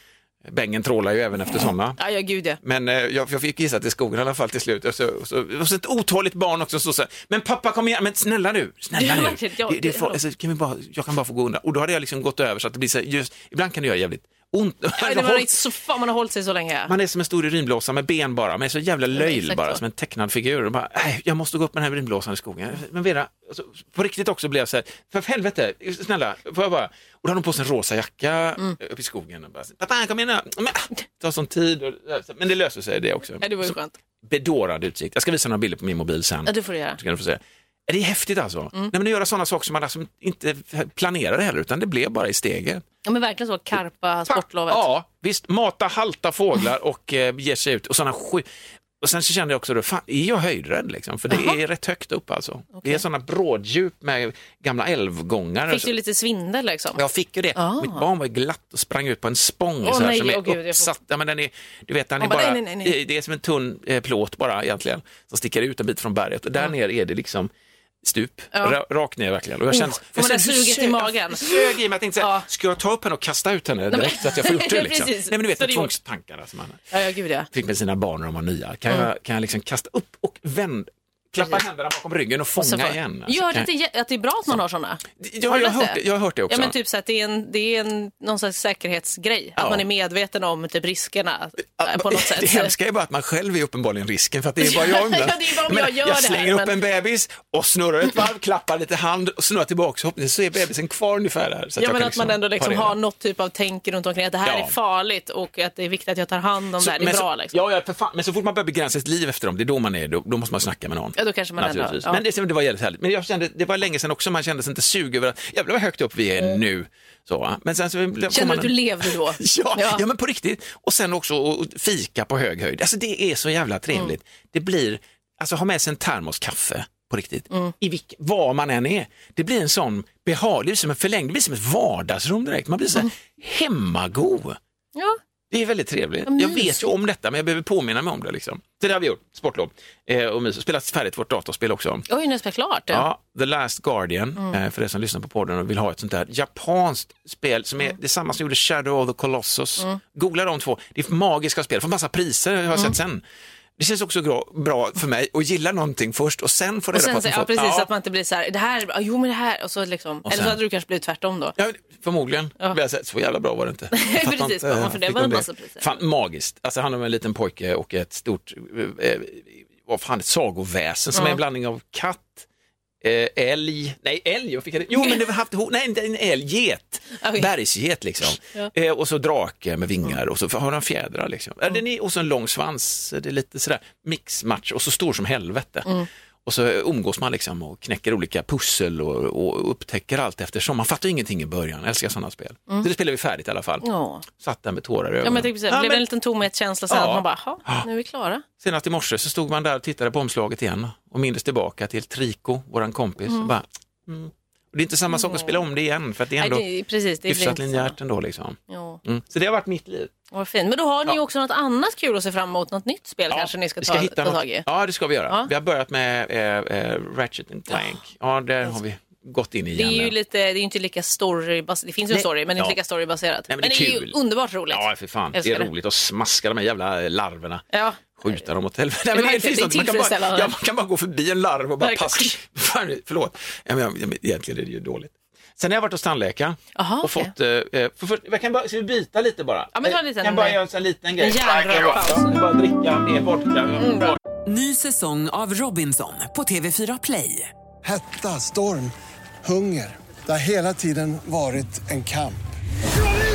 Speaker 5: Bängen trålar ju även efter sådana.
Speaker 4: Ja, ja, gud ja.
Speaker 5: Men eh, jag, jag fick gissa till skogen i alla fall till slut. Och så, och så, och så ett otåligt barn också som så här, men pappa kom igen, men snälla nu, snälla
Speaker 4: Ja,
Speaker 5: nu.
Speaker 4: verkligen. Ja,
Speaker 5: det, det är
Speaker 4: det-
Speaker 5: far- alltså, kan vi bara, jag kan bara få gå undan. Och då hade jag liksom gått över så att det blir så här, just, ibland kan det göra jävligt ont. Alltså,
Speaker 4: Ja, det var så, fan, man har hållit sig så länge.
Speaker 5: Man är som en stor urinblåsa med ben bara, man är så jävla löjlig
Speaker 4: exakt
Speaker 5: bara,
Speaker 4: så.
Speaker 5: som en tecknad figur. Och bara, "Nej, jag måste gå upp med den här urinblåsan i skogen. Men Vera, alltså, på riktigt också blev jag så här, för helvete, snälla, får jag bara? Och då hade hon på sig en rosa jacka
Speaker 4: Mm.
Speaker 5: eh, uppe i skogen och bara, pappa kom igen nu. Men, ah, det tar sån tid, och, men det löser sig det också.
Speaker 4: Ja, det var ju
Speaker 5: Så
Speaker 4: skönt.
Speaker 5: Bedårad utsikt. Jag ska visa några bilder på min mobil sen.
Speaker 4: Ja, det får du Mm. göra.
Speaker 5: Så kan du få se. Det är häftigt alltså. Nej, men att göra sådana saker som man alltså inte planerade heller, utan det blev bara i steget.
Speaker 4: Ja, men verkligen så, karpa sportlovet.
Speaker 5: Ja, visst. Mata halta fåglar och eh, ge sig ut. Och, såna sju... och sen så kände jag också, då, fan, är jag höjdrädd? Liksom? För det är rätt högt upp alltså. Det är sådana bråddjup med gamla älvgångar.
Speaker 4: Fick du lite svindel liksom?
Speaker 5: Jag fick ju det.
Speaker 4: Ah.
Speaker 5: Mitt barn var ju glatt och sprang ut på en spång
Speaker 4: Åh,
Speaker 5: så här,
Speaker 4: nej,
Speaker 5: som är
Speaker 4: åh, gud, jag får-
Speaker 5: uppsatt. Ja, men den är, du vet, den
Speaker 4: Man
Speaker 5: är
Speaker 4: bara,
Speaker 5: bara,
Speaker 4: nej, nej, nej, nej.
Speaker 5: Det, det är som en tunn eh, plåt bara egentligen som sticker ut en bit från berget. Och där ner är det liksom stup, ra, rakt ner verkligen. Och jag kände,
Speaker 4: får man
Speaker 5: jag
Speaker 4: det
Speaker 5: kände-
Speaker 4: suget i
Speaker 5: jag-
Speaker 4: magen?
Speaker 5: jag sög i mig, jag tänkte så här,
Speaker 4: Ja.
Speaker 5: ska jag ta upp henne och kasta ut henne direkt så att jag får gjort det? Liksom? Nej,
Speaker 4: precis.
Speaker 5: men du vet,
Speaker 4: Så det är gjort.
Speaker 5: tvångstankarna som man
Speaker 4: Ja, ja, gud ja.
Speaker 5: fick med sina barn när de var nya. Kan jag, kan jag liksom kasta upp och vänd, klappa händerna bakom ryggen och
Speaker 4: Så
Speaker 5: fånga
Speaker 4: får-
Speaker 5: igen? Alltså,
Speaker 4: Gör
Speaker 5: kan
Speaker 4: det
Speaker 5: jag-
Speaker 4: till, jä- att det är bra att man har sådana?
Speaker 5: Ja,
Speaker 4: Har du
Speaker 5: jag, har
Speaker 4: läst
Speaker 5: hört,
Speaker 4: det?
Speaker 5: det- jag har hört det också.
Speaker 4: Ja, men typ så att det är, en, det är en, någon slags säkerhetsgrej.
Speaker 5: Ja.
Speaker 4: Att man är medveten om typ riskerna eh, på något sätt.
Speaker 5: Det hemska är bara att man själv är uppenbarligen risken för att det är bara
Speaker 4: Ja,
Speaker 5: jag.
Speaker 4: det är bara om jag gör det här,
Speaker 5: slänger upp
Speaker 4: men-
Speaker 5: en bebis och snurrar ett varv, klappar lite hand och snurrar tillbaka. Så hoppningsvis så är bebisen kvar ungefär där. Så
Speaker 4: Ja,
Speaker 5: jag
Speaker 4: men
Speaker 5: kan
Speaker 4: att man ändå
Speaker 5: ta
Speaker 4: liksom
Speaker 5: reda.
Speaker 4: har något typ av tänk runt omkring att det här
Speaker 5: Ja.
Speaker 4: är farligt och att det är viktigt att jag tar hand om
Speaker 5: Så-
Speaker 4: det här. Det är
Speaker 5: men
Speaker 4: bra
Speaker 5: så,
Speaker 4: liksom.
Speaker 5: Ja, ja, för fan. Men så fort man börjar begränsa sitt liv efter dem, det är då man är, då, då måste man snacka med någon.
Speaker 4: Ja, då kanske man ändå-
Speaker 5: Naturligtvis.
Speaker 4: ja.
Speaker 5: Men det, det var jävligt härligt. Men jag kände, det var länge sedan också, man kände sig inte sug över att jävlar vad högt upp vi är nu. Så, va? men sen så får
Speaker 4: Mm. Känner du
Speaker 5: man
Speaker 4: att du
Speaker 5: en-
Speaker 4: levde då?
Speaker 5: Ja, ja.
Speaker 4: Ja.
Speaker 5: men på riktigt. Och sen också och- och fika på hög höjd. Alltså det är så jävla trevligt. Det blir, alltså ha med sig en termoskaffe på riktigt, i vilk, var man än är. Det blir en sån behaglig, det blir som en förlängd, det blir som ett vardagsrum direkt. Man blir så här hemmagod.
Speaker 4: Ja.
Speaker 5: Det är väldigt trevligt. jag vet ju om detta men jag behöver påminna mig om det. Liksom. Det där har vi gjort, sportlov. Eh, och mys. Spelat färdigt vårt datorspel också.
Speaker 4: Oj, nu är det Mm. klart. Ja.
Speaker 5: Ja, The Last Guardian, eh, för er som lyssnar på podden och vill ha ett sånt där japanskt spel som är
Speaker 4: Mm.
Speaker 5: det samma som gjorde Shadow of the Colossus. Googla de två, det är magiska spel, får massa priser har
Speaker 4: Mm.
Speaker 5: jag sett sen. Det känns också bra, bra för mig att gilla någonting först och sen få
Speaker 4: Och
Speaker 5: reda på
Speaker 4: sen,
Speaker 5: att
Speaker 4: så,
Speaker 5: man
Speaker 4: ja,
Speaker 5: får-
Speaker 4: precis, att man inte blir så här, det här är bra, jo men det här, och så liksom, eller
Speaker 5: sen-
Speaker 4: så hade du kanske blivit tvärtom då.
Speaker 5: Ja, förmodligen. Men jag säger, så jävla bra var det inte. Jag fattar
Speaker 4: Precis,
Speaker 5: inte,
Speaker 4: bara,
Speaker 5: eh,
Speaker 4: för det
Speaker 5: fick
Speaker 4: var
Speaker 5: de
Speaker 4: en massa priser.
Speaker 5: Fan, magiskt. Alltså, det handlar om en liten pojke och ett stort, eh, eh, vad fan, ett sagoväsen som är en blandning av katt, eh, älg, nej älg, jag fick jag det? Jo men det var haft ihop, nej inte en älg, get,
Speaker 4: Okej.
Speaker 5: bergsget liksom. Eh, och så drake med vingar och så har han fjädrar liksom. Eh, Den är, och så en lång svans, eh, det är lite sådär mixmatch och så stor som helvete.
Speaker 4: Mm.
Speaker 5: Och så umgås man liksom och knäcker olika pussel och, och upptäcker allt eftersom. Man fattar ju ingenting i början, jag älskar sådana spel. Så det spelade vi färdigt i alla fall.
Speaker 4: Mm. Ja.
Speaker 5: Satt där med tårar i
Speaker 4: Ja, men
Speaker 5: ögonen.
Speaker 4: jag tänkte precis,
Speaker 5: Ja,
Speaker 4: blev det
Speaker 5: men
Speaker 4: en liten tomhetskänsla sen
Speaker 5: Ja.
Speaker 4: att man bara, "Jaha, nu är vi klara.
Speaker 5: Senast i morse så stod man där och tittade på omslaget igen och mindes tillbaka till Trico, våran kompis. Och bara, mm. och det är inte samma sak att spela om det igen för att det är
Speaker 4: Nej,
Speaker 5: ändå
Speaker 4: det, är- precis, det blir
Speaker 5: hyfsat
Speaker 4: inte samma.
Speaker 5: linjärt ändå. Liksom.
Speaker 4: Ja,
Speaker 5: Mm. Så det har varit mitt liv.
Speaker 4: vad fint. Men då har ni ju också något annat kul att se fram emot, något nytt spel kanske ni ska,
Speaker 5: vi
Speaker 4: ta, ta
Speaker 5: något-
Speaker 4: tag i.
Speaker 5: Ja, det ska vi göra.
Speaker 4: Ja.
Speaker 5: Vi har börjat med eh, eh, Ratchet and Clank. Ja, där har vi gått in i
Speaker 4: Det är
Speaker 5: igen.
Speaker 4: ju
Speaker 5: nu.
Speaker 4: lite, det är ju inte lika storybaserat, det finns ju en
Speaker 5: Nej.
Speaker 4: story, men det är inte
Speaker 5: Ja.
Speaker 4: lika storybaserat.
Speaker 5: Nej, men det är
Speaker 4: är
Speaker 5: kul.
Speaker 4: ju underbart roligt.
Speaker 5: Ja, för fan. Det
Speaker 4: Älskar
Speaker 5: är roligt att smaska de här jävla eh, larverna.
Speaker 4: Ja.
Speaker 5: Skjuta dem åt helvete. Nej, men
Speaker 4: Verkligen, det är
Speaker 5: något- man, kan bara,
Speaker 4: tillfredsställande.
Speaker 5: ja, man kan bara gå förbi en larv och bara
Speaker 4: Verkligen.
Speaker 5: passa. Fan, Förlåt. Ja, men, jag- ja, men, egentligen är det ju dåligt. Sen har jag varit hos tandläkaren
Speaker 4: Aha,
Speaker 5: och
Speaker 4: okej.
Speaker 5: fått... Eh, eh, för, för, jag kan bara, ska vi byta lite bara?
Speaker 4: Ja, men ta en liten-
Speaker 5: Jag kan bara göra en sån här liten grej.
Speaker 4: En Mm, järnrörspaus.
Speaker 5: Ja, Bara dricka mer vodka.
Speaker 1: Ny säsong av Robinson på TV4 Play.
Speaker 2: Hetta, storm, hunger. Det har hela tiden varit en kamp.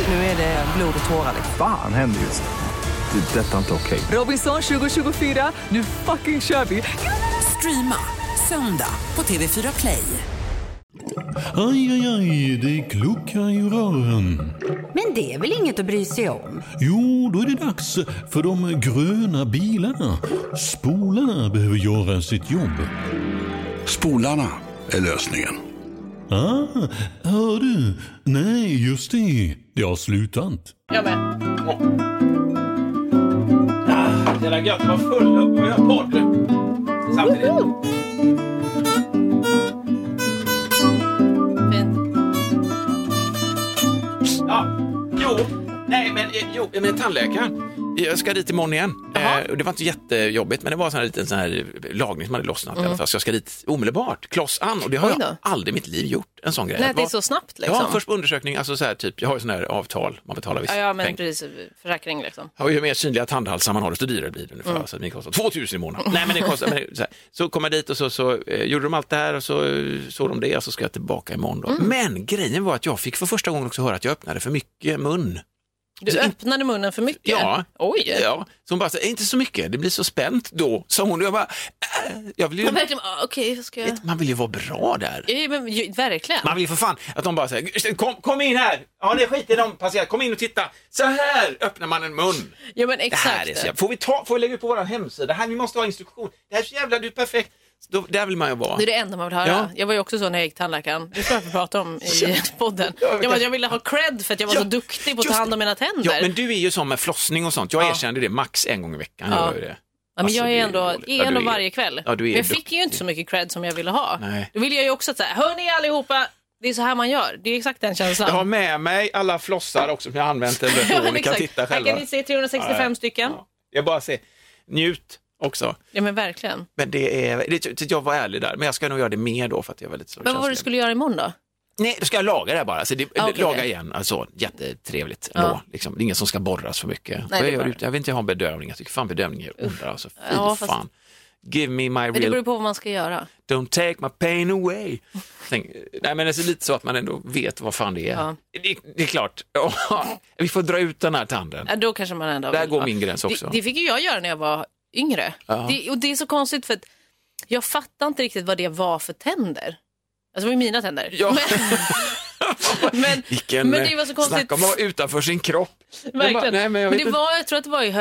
Speaker 1: Nu är det blod och tårar. liksom.
Speaker 3: Fan händer just det. Det är detta inte okej.
Speaker 1: Robinson 2024, nu fucking kör vi! Streama söndag på TV4 Play.
Speaker 8: Aj, aj, aj, det kluckar i rören.
Speaker 9: Men det är väl inget att bry sig om?
Speaker 8: Jo, då är det dags för de gröna bilarna. Spolarna behöver göra sitt jobb.
Speaker 10: Spolarna är lösningen.
Speaker 8: Ah, hör du? Nej, just det. Det har slutat.
Speaker 4: Jag med.
Speaker 5: Ah, Det där gött var full upp och jag podd. Samtidigt.
Speaker 4: Fint.
Speaker 5: Ja. Jo. Nej, men eh, jo, men tandläkaren. Jag ska dit imorgon igen.
Speaker 4: Jaha.
Speaker 5: Eh, och det var inte jättejobbigt, men det var en sån här liten sån här lagning som hade lossnat i alla fall. Så jag ska dit omedelbart, kloss an. Och det har
Speaker 4: Mm. Oj
Speaker 5: jag
Speaker 4: då.
Speaker 5: aldrig i mitt liv gjort, en sån grej.
Speaker 4: Nej, det är
Speaker 5: var-
Speaker 4: så snabbt liksom.
Speaker 5: Ja, först på undersökning, alltså så här typ, jag har ju sån här avtal, man betalar viss
Speaker 4: Ja, ja, men
Speaker 5: peng.
Speaker 4: precis. Försäkring liksom.
Speaker 5: Ja, och ju mer synliga tandhalsar man har, desto dyrare blir det ungefär.
Speaker 4: Mm.
Speaker 5: Så det kostar 2000 i månaden. Nej, men det kostar, men det, så, här. så kom jag dit och så, så eh, gjorde de allt det här och så eh, såg de det och så ska jag tillbaka imorgon. Då.
Speaker 4: Mm.
Speaker 5: Men grejen var att jag fick för första gången också höra att jag öppnade för mycket mun.
Speaker 4: Du
Speaker 5: Så in-
Speaker 4: öppnade munnen för mycket?
Speaker 5: Ja.
Speaker 4: Oj.
Speaker 5: Ja, så hon bara, så, här, inte så mycket, det blir så spänt då, sa hon. Och jag bara, äh, jag vill ju,
Speaker 4: Men verkligen, ah, okej, vad ska jag...
Speaker 5: man vill ju vara bra där.
Speaker 4: Ja, men, ju, verkligen.
Speaker 5: Man vill ju för fan att de bara säger, kom, kom in här, ja det skiter i de passerar, kom in och titta, så här öppnar man en mun.
Speaker 4: Ja, men
Speaker 5: Det
Speaker 4: exakt.
Speaker 5: här är så jävla... Får vi, ta, får vi lägga ut på vår hemsida? Här, vi måste ha instruktion. Det här är så jävla du är perfekt. Så Då, där vill man ju vara.
Speaker 4: Det är det enda man vill höra.
Speaker 5: Ja.
Speaker 4: Jag var ju också så när jag gick till tandläkaren. Det ska jag få prata om i podden. Ja,
Speaker 5: Ja, men
Speaker 4: men
Speaker 5: kanske-
Speaker 4: jag ville ha cred för att jag var
Speaker 5: Ja,
Speaker 4: så duktig på att ta
Speaker 5: just
Speaker 4: hand om mina tänder.
Speaker 5: Ja, men du är ju sån med flossning och sånt. Jag
Speaker 4: Ja.
Speaker 5: erkände det max en gång i veckan.
Speaker 4: Ja.
Speaker 5: Gör jag ju det.
Speaker 4: Ja, men
Speaker 5: Alltså,
Speaker 4: jag
Speaker 5: det
Speaker 4: är
Speaker 5: är
Speaker 4: ändå,
Speaker 5: dåligt. Ja,
Speaker 4: är
Speaker 5: du
Speaker 4: ändå
Speaker 5: är-
Speaker 4: varje kväll.
Speaker 5: Ja, du är
Speaker 4: men jag fick
Speaker 5: duktig.
Speaker 4: ju inte så mycket cred som jag ville ha.
Speaker 5: Nej.
Speaker 4: Då ville jag ju också säga, hör ni allihopa, det är så här man gör. Det är exakt den känslan.
Speaker 5: Jag har med mig alla flossar också som jag har använt under ett
Speaker 4: Ja,
Speaker 5: år.
Speaker 4: men
Speaker 5: Ni kan
Speaker 4: exakt.
Speaker 5: titta
Speaker 4: Här
Speaker 5: själva.
Speaker 4: kan ni se 365 stycken. Ja.
Speaker 5: Jag bara säger, njut också.
Speaker 4: men verkligen.
Speaker 5: Men det är, det, jag var ärlig där, men jag ska nog göra det mer då för att jag var lite så
Speaker 4: Men vad var det du skulle göra imorgon då?
Speaker 5: Nej, då ska jag laga det här bara. Så det,
Speaker 4: Ah, okej,
Speaker 5: laga
Speaker 4: okej.
Speaker 5: igen, alltså jättetrevligt ändå.
Speaker 4: Ja.
Speaker 5: Liksom. Det är ingen som ska borras för mycket.
Speaker 4: Nej,
Speaker 5: Och
Speaker 4: det
Speaker 5: jag,
Speaker 4: är
Speaker 5: gör,
Speaker 4: bra.
Speaker 5: ut- jag vill inte ha en bedövning, jag tycker fan bedövning är onda. Alltså, fy
Speaker 4: Ja, fast-
Speaker 5: fan. Give me my
Speaker 4: Men det
Speaker 5: real,
Speaker 4: beror på vad man ska göra.
Speaker 5: don't take my pain away. Tänk, nej men alltså, lite så att man ändå vet vad fan det är.
Speaker 4: Ja.
Speaker 5: Det, det är klart, vi får dra ut den här tanden.
Speaker 4: Ja, då kanske man ändå
Speaker 5: Där
Speaker 4: vill
Speaker 5: går
Speaker 4: ha.
Speaker 5: min gräns också.
Speaker 4: Det, det fick ju jag göra när jag var yngre.
Speaker 5: Ja.
Speaker 4: Det, och det är så konstigt för att jag fattar inte riktigt vad det var för tänder. Alltså det var ju mina tänder.
Speaker 5: Ja.
Speaker 4: Men, men,
Speaker 5: Vilken, eh,
Speaker 4: men det var så konstigt.
Speaker 5: Snacka om att vara utanför sin kropp. Jag bara,
Speaker 4: Verkligen.
Speaker 5: nej, men jag
Speaker 4: men
Speaker 5: vet
Speaker 4: det var, jag tror att det var i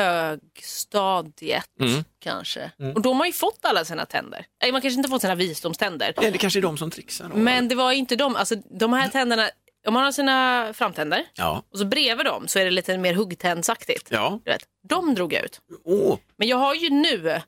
Speaker 4: högstadiet
Speaker 5: Mm.
Speaker 4: kanske. Och då har man ju fått alla sina tänder. Nej, man kanske inte fått sina visdomständer.
Speaker 5: inte. Ja, Det kanske är de som trixar. Då.
Speaker 4: Men det var inte de, alltså de här tänderna, om man har sina framtänder
Speaker 5: Ja.
Speaker 4: och så bredvid dem så är det lite mer huggtändsaktigt.
Speaker 5: Ja.
Speaker 4: Du vet, de drog jag ut.
Speaker 5: Åh.
Speaker 4: Men jag har ju nu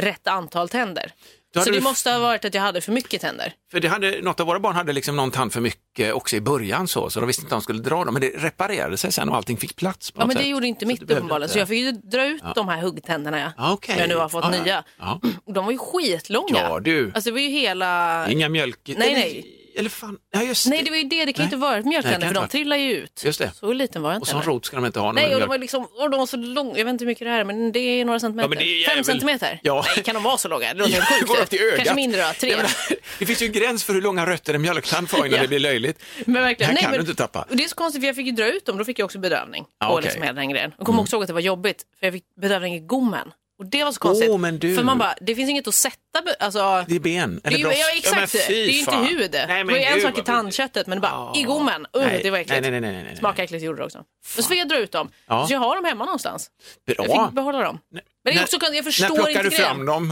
Speaker 4: rätt antal tänder.
Speaker 5: Då hade
Speaker 4: Så det
Speaker 5: du-
Speaker 4: måste ha varit att jag hade för mycket tänder.
Speaker 5: För det hade, något av våra barn hade liksom någon tand för mycket också i början så, så de visste inte om de skulle dra dem, men det reparerade sig sen och allting fick plats. På
Speaker 4: Ja,
Speaker 5: något
Speaker 4: men det
Speaker 5: sätt.
Speaker 4: gjorde inte
Speaker 5: Så
Speaker 4: mitt
Speaker 5: du behövde
Speaker 4: uppenbarligen.
Speaker 5: inte-
Speaker 4: Så jag fick ju dra ut de här huggtänderna jag,
Speaker 5: Ah, okej.
Speaker 4: som jag nu har fått
Speaker 5: Ah, ja.
Speaker 4: nya.
Speaker 5: Ja.
Speaker 4: Och de var ju skitlånga.
Speaker 5: Ja, du.
Speaker 4: Alltså det var ju hela...
Speaker 5: Inga mjölk...
Speaker 4: nej.
Speaker 5: Eller, eller fan, ja just
Speaker 4: Nej, det var ju det. Det kan ju inte vara ett
Speaker 5: Nej, det
Speaker 4: mjölktänder
Speaker 5: kan
Speaker 4: för de
Speaker 5: inte
Speaker 4: trillar ju ut.
Speaker 5: Just det.
Speaker 4: Så liten var jag
Speaker 5: Och
Speaker 4: inte.
Speaker 5: sån
Speaker 4: heller.
Speaker 5: rot ska de inte ha.
Speaker 4: Nej, och de var liksom, och de var så långa, jag vet inte hur mycket det här är, men det är några centimeter.
Speaker 5: men det är ju jävel-
Speaker 4: Fem centimeter?
Speaker 5: Ja.
Speaker 4: Nej, kan de vara så långa? Det låter helt
Speaker 5: Det går upp
Speaker 4: sjukt.
Speaker 5: till ögat.
Speaker 4: Kanske mindre då, tre.
Speaker 5: Jag menar, det finns ju en gräns för hur långa rötter en mjölktand får innan
Speaker 4: Ja.
Speaker 5: det blir löjligt.
Speaker 4: Men verkligen.
Speaker 5: Det här
Speaker 4: nej,
Speaker 5: kan
Speaker 4: men,
Speaker 5: du inte tappa.
Speaker 4: Och det är så konstigt för jag fick ju dra ut dem, då fick jag också bedövning.
Speaker 5: Ja,
Speaker 4: på
Speaker 5: okej. Mm.
Speaker 4: liksom hela den grejen. Jag kommer också ihåg att det var jobbigt, för jag fick bedövning i gommen. Och det var så konstigt.
Speaker 5: Åh, men du.
Speaker 4: För man bara, det finns inget att sätta, be- alltså.
Speaker 5: Det är ben, eller
Speaker 4: det är,
Speaker 5: bröst.
Speaker 4: ju- ja,
Speaker 5: men
Speaker 4: exakt.
Speaker 5: fy
Speaker 4: det är ju inte
Speaker 5: fan.
Speaker 4: hud.
Speaker 5: Nej, men
Speaker 4: det var ju en
Speaker 5: gud,
Speaker 4: sak i
Speaker 5: vad-
Speaker 4: tandköttet, men bara
Speaker 5: Ja.
Speaker 4: i gommen. Uh,
Speaker 5: Nej,
Speaker 4: det var äckligt.
Speaker 5: nej, nej, nej, nej, nej.
Speaker 4: Smakade äckligt gjorde det också. Men så fick jag dra ut dem.
Speaker 5: Ja.
Speaker 4: Så jag har dem hemma någonstans.
Speaker 5: Bra.
Speaker 4: Jag fick behålla dem. Men det är
Speaker 5: När-
Speaker 4: också, konstigt, jag
Speaker 5: När
Speaker 4: förstår
Speaker 5: plockar
Speaker 4: inte
Speaker 5: du
Speaker 4: grejen.
Speaker 5: fram dem?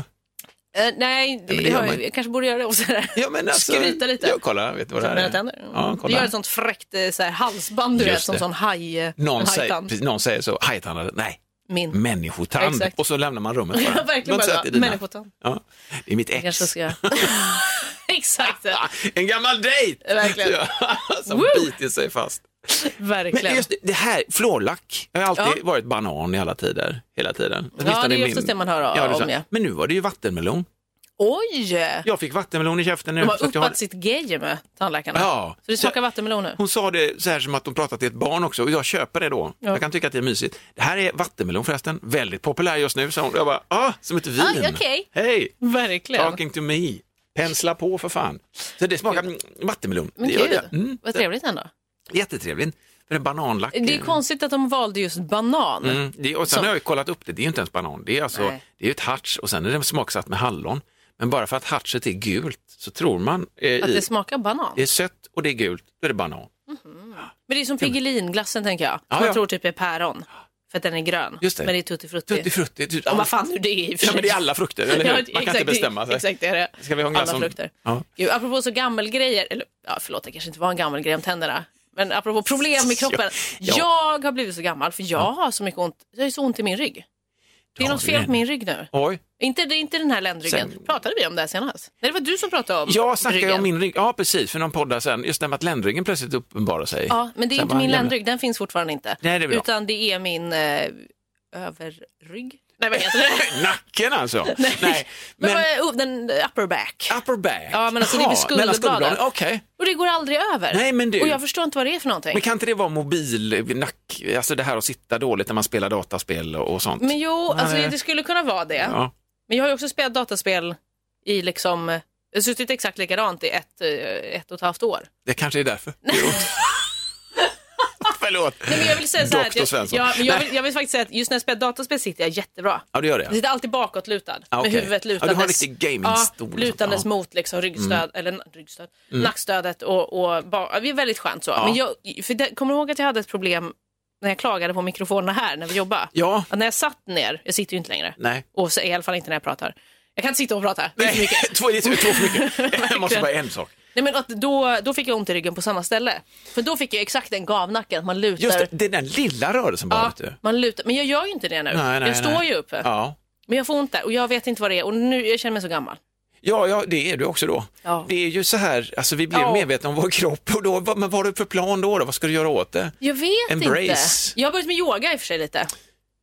Speaker 4: Eh, nej, det,
Speaker 5: men det gör
Speaker 4: jag,
Speaker 5: man ju.
Speaker 4: jag kanske borde göra det och sådär.
Speaker 5: Ja, men alltså,
Speaker 4: Skryta lite.
Speaker 5: Ja, kolla, vet du vad det här
Speaker 4: Mina
Speaker 5: är?
Speaker 4: tänder.
Speaker 5: Ja,
Speaker 4: det
Speaker 5: kolla.
Speaker 4: gör ett sånt fräckt eh, så här, halsband du
Speaker 5: Just
Speaker 4: vet, som
Speaker 5: det.
Speaker 4: sån haj, en
Speaker 5: Någon, säger,
Speaker 4: hajtand.
Speaker 5: precis, någon säger så, hajtandare, nej,
Speaker 4: Min.
Speaker 5: människotand.
Speaker 4: Exakt.
Speaker 5: Och så lämnar man rummet
Speaker 4: Ja,
Speaker 5: Du har
Speaker 4: verkligen
Speaker 5: inte
Speaker 4: bara
Speaker 5: sett i
Speaker 4: så,
Speaker 5: dina.
Speaker 4: människotand.
Speaker 5: Ja, det är mitt
Speaker 4: Jag kanske
Speaker 5: ex.
Speaker 4: ska göra. Exakt,
Speaker 5: Ah, en gammal dejt!
Speaker 4: Verkligen.
Speaker 5: Ja, Som
Speaker 4: Woo!
Speaker 5: biter sig fast. Men
Speaker 4: verkligen.
Speaker 5: just det, det här, florlack. Jag har alltid
Speaker 4: Ja.
Speaker 5: varit banan i alla tider. Hela tiden.
Speaker 4: Ja,
Speaker 5: Åtminstone
Speaker 4: det
Speaker 5: i
Speaker 4: är oftast det man hör
Speaker 5: Ja,
Speaker 4: av-
Speaker 5: det är så.
Speaker 4: om. Ja.
Speaker 5: Men nu var det ju vattenmelon.
Speaker 4: Oj!
Speaker 5: Jag fick vattenmelon i käften nu.
Speaker 4: De
Speaker 5: så
Speaker 4: har
Speaker 5: att jag har-
Speaker 4: uppat sitt game, tandläkarna.
Speaker 5: Ja.
Speaker 4: Så det smakar vattenmelon nu.
Speaker 5: Hon sa det så här som att hon pratat till ett barn också och jag köper det då. Jag kan tycka att det är mysigt. Det här är vattenmelon förresten, väldigt populär just nu, sa hon. Jag bara, ah, som ett vin.
Speaker 4: Aj, okej.
Speaker 5: Hej,
Speaker 4: Verkligen.
Speaker 5: talking to me. Pensla på för fan. Så det smakar mm, vattenmelon.
Speaker 4: Men
Speaker 5: det gör
Speaker 4: gud,
Speaker 5: det. Mm,
Speaker 4: vad trevligt ändå.
Speaker 5: jättetrevligt. För en bananlack.
Speaker 4: Det är
Speaker 5: eh,
Speaker 4: konstigt att de valde just banan.
Speaker 5: Mm, det, och sen har jag ju kollat upp det, det är ju inte ens banan. Det är, alltså,
Speaker 4: Nej.
Speaker 5: det är ju ett harts och sen är det smaksatt med hallon. Men bara för att hartset är gult så tror man eh, i,
Speaker 4: Att det smakar banan.
Speaker 5: det är sött och det är gult, då är det banan.
Speaker 4: Men det är som Piggelinglassen tänker jag. Som
Speaker 5: Ja,
Speaker 4: man
Speaker 5: ja.
Speaker 4: tror typ är päron. för att den är grön.
Speaker 5: Just det.
Speaker 4: Men det är tutti frutti.
Speaker 5: Tutti frutti. tut-
Speaker 4: Och vad fan nu det är i och för
Speaker 5: Ja,
Speaker 4: sig.
Speaker 5: men det är alla frukter, eller hur?
Speaker 4: Ja,
Speaker 5: Man kan
Speaker 4: exakt,
Speaker 5: inte bestämma sig.
Speaker 4: Exakt, det är det.
Speaker 5: Ska vi ha en glass
Speaker 4: alla
Speaker 5: om-
Speaker 4: frukter.
Speaker 5: Ja.
Speaker 4: Jo, apropå så gammelgrejer, eller ja, förlåt, det kanske inte var en gammal grej om tänderna. Men apropå problem i kroppen.
Speaker 5: Ja, ja.
Speaker 4: Jag har blivit så gammal för jag har så mycket ont. Jag har så ont i min rygg. Det är
Speaker 5: Ja,
Speaker 4: något
Speaker 5: det är
Speaker 4: fel på min rygg nu.
Speaker 5: Oj.
Speaker 4: Inte, det är inte den här ländryggen.
Speaker 5: Sen-
Speaker 4: Pratade vi om det här senast? Nej, det var du som pratade om
Speaker 5: Jag snackar ju
Speaker 4: ryggen.
Speaker 5: om min rygg. Ja, precis. För någon podd där sen. Just det med att ländryggen plötsligt uppenbarar sig.
Speaker 4: Ja, men det är
Speaker 5: Sen
Speaker 4: inte
Speaker 5: bara,
Speaker 4: min
Speaker 5: ja, men-
Speaker 4: ländrygg, den finns fortfarande inte.
Speaker 5: Nej, det är bra.
Speaker 4: Utan det är min eh, överrygg. Nej, vad heter det?
Speaker 5: Nacken alltså? Nej.
Speaker 4: Men,
Speaker 5: Men, Ah.
Speaker 4: vad är- den upper back.
Speaker 5: upper back?
Speaker 4: Ja, men alltså, det är vid
Speaker 5: Ja, mellan
Speaker 4: skulderbladen.
Speaker 5: Okej.
Speaker 4: Och det går aldrig över.
Speaker 5: Nej, men du.
Speaker 4: Och jag förstår inte vad det är för någonting.
Speaker 5: Men kan inte det vara mobil, nack, alltså det här att sitta dåligt när man spelar dataspel och, och sånt?
Speaker 4: Men jo, alltså,
Speaker 5: Nej.
Speaker 4: det skulle kunna vara det.
Speaker 5: Ja.
Speaker 4: Men jag har ju också spelat dataspel i liksom, eh, jag har suttit exakt likadant i ett, eh, ett och ett halvt år.
Speaker 5: Det kanske är därför. Jo. Förlåt.
Speaker 4: Nej, men jag vill säga så här,
Speaker 5: Doktor
Speaker 4: att jag,
Speaker 5: Svensson.
Speaker 4: ja, men jag, vill, jag vill faktiskt säga att just när jag spelar dataspel sitter jag jättebra.
Speaker 5: Ja, du gör det?
Speaker 4: Jag sitter alltid bakåtlutad,
Speaker 5: Ah, okej.
Speaker 4: med huvudet
Speaker 5: Ja, du har
Speaker 4: lutandes,
Speaker 5: en riktig gamingstol och
Speaker 4: ja,
Speaker 5: sånt,
Speaker 4: lutandes
Speaker 5: ja. Mm.
Speaker 4: mot liksom ryggstöd, eller na- ryggstöd, nackstödet och, och ba- ja, det är väldigt skönt så. Men jag, för det, kommer du ihåg att jag hade ett problem när jag klagade på mikrofonerna här när vi jobbade?
Speaker 5: Ja.
Speaker 4: Att när jag satt ner, jag sitter ju inte längre,
Speaker 5: Nej.
Speaker 4: och så, i alla fall inte när jag pratar. Jag kan inte sitta och prata, det är för
Speaker 5: Nej,
Speaker 4: mycket.
Speaker 5: två, det är två för mycket. Jag måste
Speaker 4: Verkligen.
Speaker 5: bara en sak.
Speaker 4: Nej, men att då, då fick jag ont i ryggen på samma ställe. För då fick jag exakt den gavnacken, att man lutar.
Speaker 5: Just det, det är den lilla rörelsen bara.
Speaker 4: Ja,
Speaker 5: vet du.
Speaker 4: man lutar. Men jag gör ju inte det nu.
Speaker 5: Nej, nej,
Speaker 4: jag står
Speaker 5: nej.
Speaker 4: ju uppe.
Speaker 5: Ja.
Speaker 4: Men jag får ont där och jag vet inte vad det är och nu jag känner mig så gammal.
Speaker 5: Ja, ja, det är du också då.
Speaker 4: Ja.
Speaker 5: Det är ju så här, alltså vi blev
Speaker 4: Ja.
Speaker 5: medvetna om vår kropp och då, vad, men vad har du för plan då? då? Vad ska du göra åt det?
Speaker 4: Jag vet
Speaker 5: Embrace.
Speaker 4: inte. Jag har börjat med yoga i och för sig lite.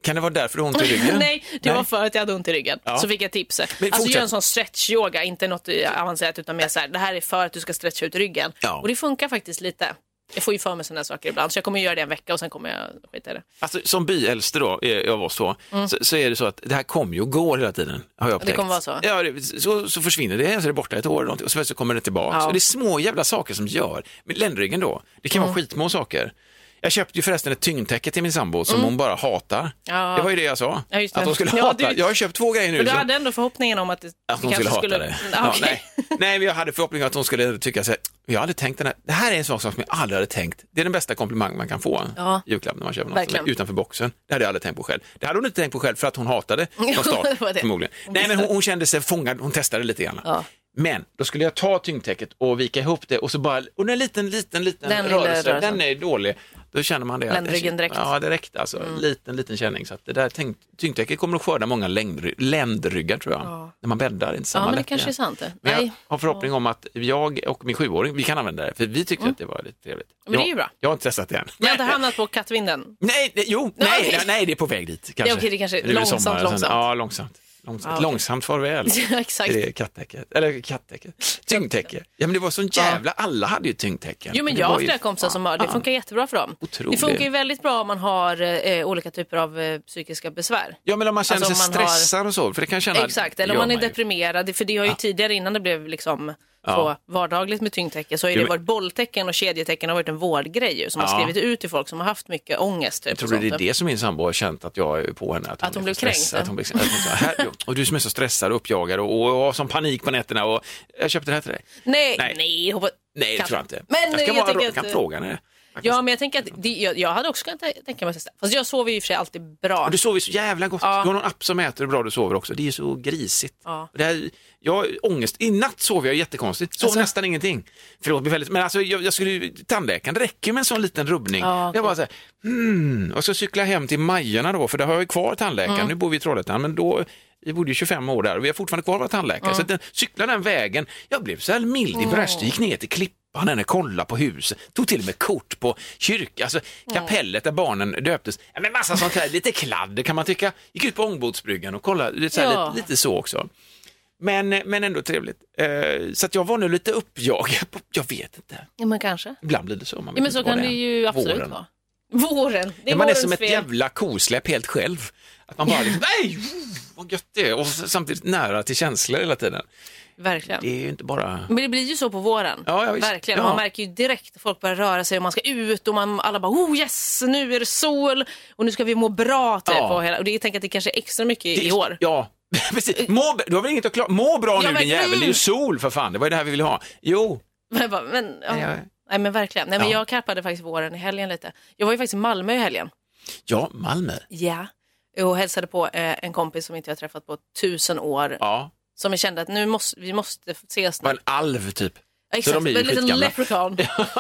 Speaker 5: Kan det vara därför du har ont i ryggen?
Speaker 4: Nej, det var för att jag hade ont i ryggen.
Speaker 5: Ja.
Speaker 4: Så fick jag tips.
Speaker 5: Men
Speaker 4: alltså
Speaker 5: fortsätt.
Speaker 4: gör en sån stretch-yoga, inte något eh, avancerat utan mer så här, det här är för att du ska stretcha ut ryggen.
Speaker 5: Ja.
Speaker 4: Och det funkar faktiskt lite. Jag får ju för mig sådana här saker ibland, så jag kommer göra det en vecka och sen kommer jag skita i det.
Speaker 5: Alltså, som byäldste då, eh, av oss två, så, så är det så att det här kommer ju och går hela tiden. Har jag
Speaker 4: Mm. det
Speaker 5: upptäckt.
Speaker 4: kommer vara så.
Speaker 5: Ja, det, så, så försvinner det, så är det borta ett år eller någonting, och så, så kommer det tillbaka.
Speaker 4: Ja.
Speaker 5: Och det är små jävla saker som gör. Men ländryggen då, det kan
Speaker 4: Mm.
Speaker 5: vara skitmå saker. Jag köpte ju förresten ett tyngdtäcke till min sambo som hon bara hatar.
Speaker 4: Mm. Ja.
Speaker 5: Det var ju det jag sa,
Speaker 4: Ja, just det.
Speaker 5: att hon skulle
Speaker 4: Ja,
Speaker 5: hata.
Speaker 4: du-
Speaker 5: Jag har köpt två grejer nu.
Speaker 4: Men du
Speaker 5: som-
Speaker 4: hade ändå förhoppningen om att det
Speaker 5: att hon
Speaker 4: kanske
Speaker 5: skulle hata det.
Speaker 4: Ja,
Speaker 5: Ja, nej.
Speaker 4: okej.
Speaker 5: nej, men jag hade förhoppningen att hon skulle tycka så här, jag hade tänkt den här, det här är en sån sak som jag aldrig hade tänkt, det är den bästa komplimang man kan få,
Speaker 4: Ja.
Speaker 5: julklapp när man köper något
Speaker 4: Verkligen.
Speaker 5: som är utanför boxen. Det hade jag aldrig tänkt på själv. Det hade hon inte tänkt på själv för att hon hatade från start,
Speaker 4: Det var det.
Speaker 5: förmodligen.
Speaker 4: Hon
Speaker 5: Nej, men hon,
Speaker 4: visste.
Speaker 5: hon kände sig fångad, hon testade lite grann.
Speaker 4: Ja.
Speaker 5: Men då skulle jag ta tyngdtäcket och vika ihop det och så bara, och en liten, liten, liten
Speaker 4: Den lilla
Speaker 5: rörelse,
Speaker 4: rörelsen.
Speaker 5: den är dålig. Då känner man det. att-
Speaker 4: Ländryggen direkt.
Speaker 5: Ja, direkt alltså.
Speaker 4: Mm.
Speaker 5: Liten, liten känning. Så att det där tänk- tyngdtäcket kommer att skörda många längdry- ländryggar tror jag. När man bäddar, inte
Speaker 4: ja,
Speaker 5: samma
Speaker 4: men det
Speaker 5: lätt
Speaker 4: kanske
Speaker 5: igen.
Speaker 4: är sant. det.
Speaker 5: Men jag
Speaker 4: Nej.
Speaker 5: har förhoppning om att jag och min sjuåring, vi kan använda det, för vi tyckte att det var lite trevligt.
Speaker 4: Mm. Men det är
Speaker 5: Jag-
Speaker 4: ju bra.
Speaker 5: Jag har inte testat det än.
Speaker 4: Jag har inte hamnat på kattvinden.
Speaker 5: Nej, nej, jo,
Speaker 4: Ja,
Speaker 5: nej,
Speaker 4: okej.
Speaker 5: nej, nej, det är på väg dit. Kanske.
Speaker 4: okej, det kanske-
Speaker 5: är väl
Speaker 4: långsamt,
Speaker 5: sommar, sen-
Speaker 4: långsamt.
Speaker 5: Ja, långsamt. Långsamt,
Speaker 4: Ja, okej.
Speaker 5: långsamt farväl.
Speaker 4: Ja, exakt.
Speaker 5: Det är kattäcket, eller kattäcket, tyngdtäcke. Ja, men det var sån jävla, alla hade ju tyngdtäcken.
Speaker 4: Jo, men
Speaker 5: Det
Speaker 4: jag
Speaker 5: var
Speaker 4: har
Speaker 5: ju-
Speaker 4: flera kompisar som har det. Det funkar jättebra för dem.
Speaker 5: Otroligt.
Speaker 4: Det funkar ju väldigt bra om man har eh, olika typer av eh, psykiska besvär.
Speaker 5: Ja, men om man känner
Speaker 4: Alltså,
Speaker 5: sig
Speaker 4: om man har-
Speaker 5: stressad och så, för det kan jag känna.
Speaker 4: Exakt, eller om
Speaker 5: gör
Speaker 4: man är
Speaker 5: ju.
Speaker 4: deprimerad. För det har ju tidigare innan det blev liksom
Speaker 5: Ja.
Speaker 4: så vardagligt med tyngdtäcke så har ju
Speaker 5: Jo,
Speaker 4: det
Speaker 5: men-
Speaker 4: varit bolltecken och kedjetecken har varit en vårdgrej ju, som har
Speaker 5: Ja.
Speaker 4: skrivit ut till folk som har haft mycket ångest. Typ,
Speaker 5: Jag
Speaker 4: och
Speaker 5: tror det är
Speaker 4: sånt.
Speaker 5: det som min sambo har känt att jag är på henne. Att
Speaker 4: hon
Speaker 5: är
Speaker 4: blev
Speaker 5: för
Speaker 4: kränkt,
Speaker 5: stressad,
Speaker 4: ja.
Speaker 5: Att hon blev kränkt. Att hon sa, här, och du som är så stressad och uppjagad och, och, och har sån panik på nätterna. Och, jag köpte det här till dig.
Speaker 4: Nej,
Speaker 5: Nej.
Speaker 4: nej. hoppa...
Speaker 5: Nej, det
Speaker 4: Kan-
Speaker 5: tror jag inte.
Speaker 4: Men
Speaker 5: jag ska
Speaker 4: jag
Speaker 5: bara
Speaker 4: tänker
Speaker 5: kan
Speaker 4: att-
Speaker 5: fråga henne.
Speaker 4: Ja, men jag tänker att det, jag, jag hade också kunnat tä- tänka mig att testa. Fast jag sover ju i och för sig alltid bra.
Speaker 5: Ja, du sover ju så jävla gott.
Speaker 4: Ja.
Speaker 5: Du har någon app som mäter hur bra du sover också. Det är ju så grisigt.
Speaker 4: Ja.
Speaker 5: Det här, jag har ångest. I natt sov jag jättekonstigt.
Speaker 4: Alltså-
Speaker 5: Sov nästan ingenting. Förlåt, men väldigt- men alltså, jag, jag skulle ju, tandläkaren, det räcker ju med en sån liten rubbning.
Speaker 4: Ja,
Speaker 5: Jag bara så här, hmm. Och så cykla hem till Majorna då, för där har jag ju kvar tandläkaren. Nu bor vi i Trollhättan, men då vi bodde ju 25 år där och vi har fortfarande kvar våra tandläkare. Så att den, cykla den vägen, jag blev så här mild i bröstet, gick ner till klippan, henne, kollade på huset, tog till och med kort på kyrkan, alltså kapellet där barnen döptes. Ja, men massa sånt här, lite kladder kan man tycka. Gick ut på ångbåtsbryggan och kollade, lite, så här,
Speaker 4: Ja.
Speaker 5: lite, lite så också. Men, men ändå trevligt. Eh, så att jag var nu lite uppjagad, jag vet inte.
Speaker 4: Ja, men kanske.
Speaker 5: Ibland blir det så. Man vet
Speaker 4: Ja, men
Speaker 5: inte
Speaker 4: så
Speaker 5: vad
Speaker 4: kan
Speaker 5: är.
Speaker 4: det ju absolut
Speaker 5: Våren.
Speaker 4: vara. Våren. Det är
Speaker 5: Ja, man är
Speaker 4: vårens
Speaker 5: som ett
Speaker 4: fel.
Speaker 5: jävla kosläpp helt själv. Att man bara liksom, nej, vad gött det är. Och samtidigt nära till känslor hela tiden.
Speaker 4: Verkligen.
Speaker 5: Det är ju inte bara...
Speaker 4: Men det blir ju så på våren.
Speaker 5: Ja, ja, visst.
Speaker 4: Verkligen.
Speaker 5: Ja.
Speaker 4: Man märker ju direkt att folk börjar röra sig och man ska ut och man, alla bara oh yes, nu är det sol och nu ska vi må bra. Typ.
Speaker 5: Ja.
Speaker 4: Och, hela, och det jag tänker att det kanske är extra mycket i år.
Speaker 5: Ja, precis. Må, b- du har väl inget att klara? Må bra
Speaker 4: Ja,
Speaker 5: nu din
Speaker 4: verkligen.
Speaker 5: jävel, det är ju sol för fan. Det var ju det här vi ville ha. Jo,
Speaker 4: Men, jag bara, men, ja.
Speaker 5: Ja, ja.
Speaker 4: Nej men verkligen. Nej, men
Speaker 5: Ja.
Speaker 4: Jag karpade faktiskt våren i helgen lite. Jag var ju faktiskt i Malmö i helgen.
Speaker 5: Ja, Malmö.
Speaker 4: Ja. Och hälsade på eh, en kompis som inte jag träffat på tusen år.
Speaker 5: Ja,
Speaker 4: Som jag kände att nu måste, vi måste ses
Speaker 5: var
Speaker 4: nu.
Speaker 5: en alv typ.
Speaker 4: Ja, Exakt,
Speaker 5: de är ju
Speaker 4: en liten
Speaker 5: skitgamla.
Speaker 4: leprechaun.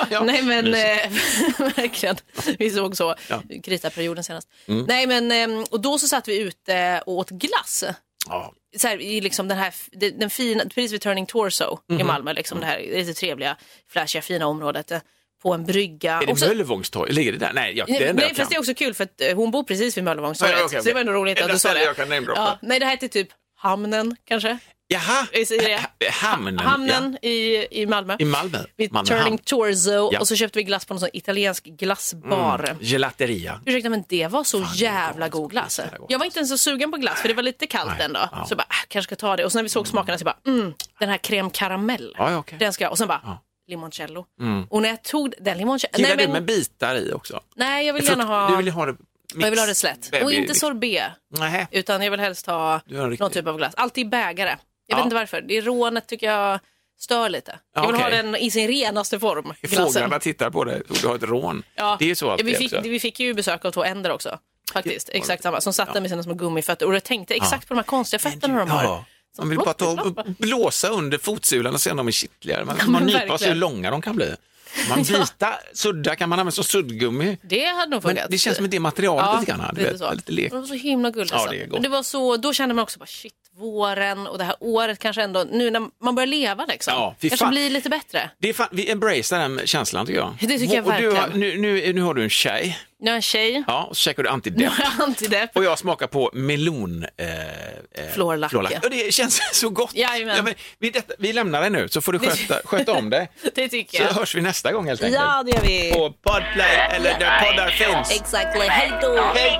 Speaker 5: ja.
Speaker 4: Nej men
Speaker 5: Mysigt.
Speaker 4: eh, verkligen, vi såg så
Speaker 5: Ja. Mm.
Speaker 4: i kritaperioden senast. Nej men, eh, och då så satt vi ute och åt glass.
Speaker 5: Ja,
Speaker 4: Så här, i liksom den här, f- den den fina, precis vid Turning Torso i
Speaker 5: Mhm.
Speaker 4: Malmö, liksom det här lite trevliga, flashiga, fina området. eh, På en brygga.
Speaker 5: är det
Speaker 4: Och så-
Speaker 5: Möllevångstorget? Ligger det där? Nej, jag, det är
Speaker 4: Nej,
Speaker 5: den där
Speaker 4: nej fast det är också kul för att eh, hon bor precis vid Möllevångstorget.
Speaker 5: Ja, ja, okej,
Speaker 4: Så det var ändå
Speaker 5: okej.
Speaker 4: roligt att
Speaker 5: Enda
Speaker 4: du sa
Speaker 5: stället
Speaker 4: det.
Speaker 5: jag kan namedroppa.
Speaker 4: ja, nej det här heter typ hamnen kanske?
Speaker 5: Jaha,
Speaker 4: Visst är det?
Speaker 5: Ha- hamnen.
Speaker 4: Hamnen i, i Malmö.
Speaker 5: eh, Ja. I Malmö.
Speaker 4: Vid
Speaker 5: Malmö
Speaker 4: Turning
Speaker 5: hamn.
Speaker 4: Torso
Speaker 5: Ja. Mm.
Speaker 4: och så köpte vi glass på någon sån italiensk glassbar.
Speaker 5: Gelateria.
Speaker 4: Ursäkta men det var så jävla god glass.
Speaker 5: Jävla god.
Speaker 4: Jag var inte ens så sugen på glass för det var lite kallt
Speaker 5: Nej,
Speaker 4: ändå.
Speaker 5: ja.
Speaker 4: Så jag bara, äh, kanske ska ta det. Och sen när vi såg smakerna så jag bara, mm, den här crème caramel.
Speaker 5: Ja, ja, okej.
Speaker 4: Den ska jag. Och sen bara,
Speaker 5: Ja.
Speaker 4: limoncello. Och när jag tog den limoncello.
Speaker 5: Gillar
Speaker 4: Nej,
Speaker 5: du med
Speaker 4: men,
Speaker 5: bitar i också?
Speaker 4: nej jag vill
Speaker 5: Frukt-
Speaker 4: gärna ha,
Speaker 5: Du vill ha det mix,
Speaker 4: jag vill ha det slätt. Och
Speaker 5: baby-
Speaker 4: inte sorbet.
Speaker 5: Nej.
Speaker 4: Utan jag vill helst ha
Speaker 5: Du har en riktig-
Speaker 4: någon typ av glass. Alltid bägare. Jag
Speaker 5: Ja.
Speaker 4: vet inte varför. Det är rånet tycker jag stör lite. Jag vill ha
Speaker 5: okej.
Speaker 4: den i sin renaste form. Glassen.
Speaker 5: Fåglarna tittar på dig och du har ett rån.
Speaker 4: Ja.
Speaker 5: Det är ju så alltid
Speaker 4: vi, fick,
Speaker 5: också.
Speaker 4: vi fick ju besök av två änder också. Faktiskt,
Speaker 5: Ja.
Speaker 4: exakt samma. Som satt där
Speaker 5: Ja.
Speaker 4: med sina små gummifötter. Och jag tänkte exakt på de här konstiga fötterna de har.
Speaker 5: Ja. Man vill bara ta och blåsa under fotsulan och se om de är kittligare. Man, man
Speaker 4: men
Speaker 5: nypa sig hur
Speaker 4: verkligen.
Speaker 5: långa de kan bli. Man bita, sudda kan man använda som suddgummi.
Speaker 4: Det hade nog
Speaker 5: Men
Speaker 4: funkat.
Speaker 5: det känns som det materialet lite grann. Du vet,
Speaker 4: så.
Speaker 5: lite lek.
Speaker 4: De var så himla gulliga.
Speaker 5: Ja,
Speaker 4: så.
Speaker 5: det är gott.
Speaker 4: Men det var så, då kände man också bara shit, våren och det här året kanske ändå, nu när man börjar leva liksom.
Speaker 5: Ja, fy
Speaker 4: kanske
Speaker 5: fan.
Speaker 4: blir lite bättre.
Speaker 5: Det är fan, vi embracear den känslan tycker jag.
Speaker 4: Det tycker jag
Speaker 5: och du har,
Speaker 4: verkligen.
Speaker 5: nu, nu, nu har du en tjej,
Speaker 4: Nu är jag en tjej,
Speaker 5: ja, och så käkar du
Speaker 4: nu
Speaker 5: antidepp.
Speaker 4: har jag antidepp.
Speaker 5: Och jag smakar på melon... Eh, eh,
Speaker 4: Florlack, ja.
Speaker 5: Och det känns så gott.
Speaker 4: Jajamän.
Speaker 5: men vi, detta, vi lämnar det nu så får du sköta, sköta om dig.
Speaker 4: Det tycker
Speaker 5: Så
Speaker 4: jag.
Speaker 5: hörs vi nästa gång helt enkelt.
Speaker 4: Ja, det gör vi.
Speaker 5: På Podplay eller där poddar finns.
Speaker 4: Exactly. Hej då!
Speaker 5: Hej!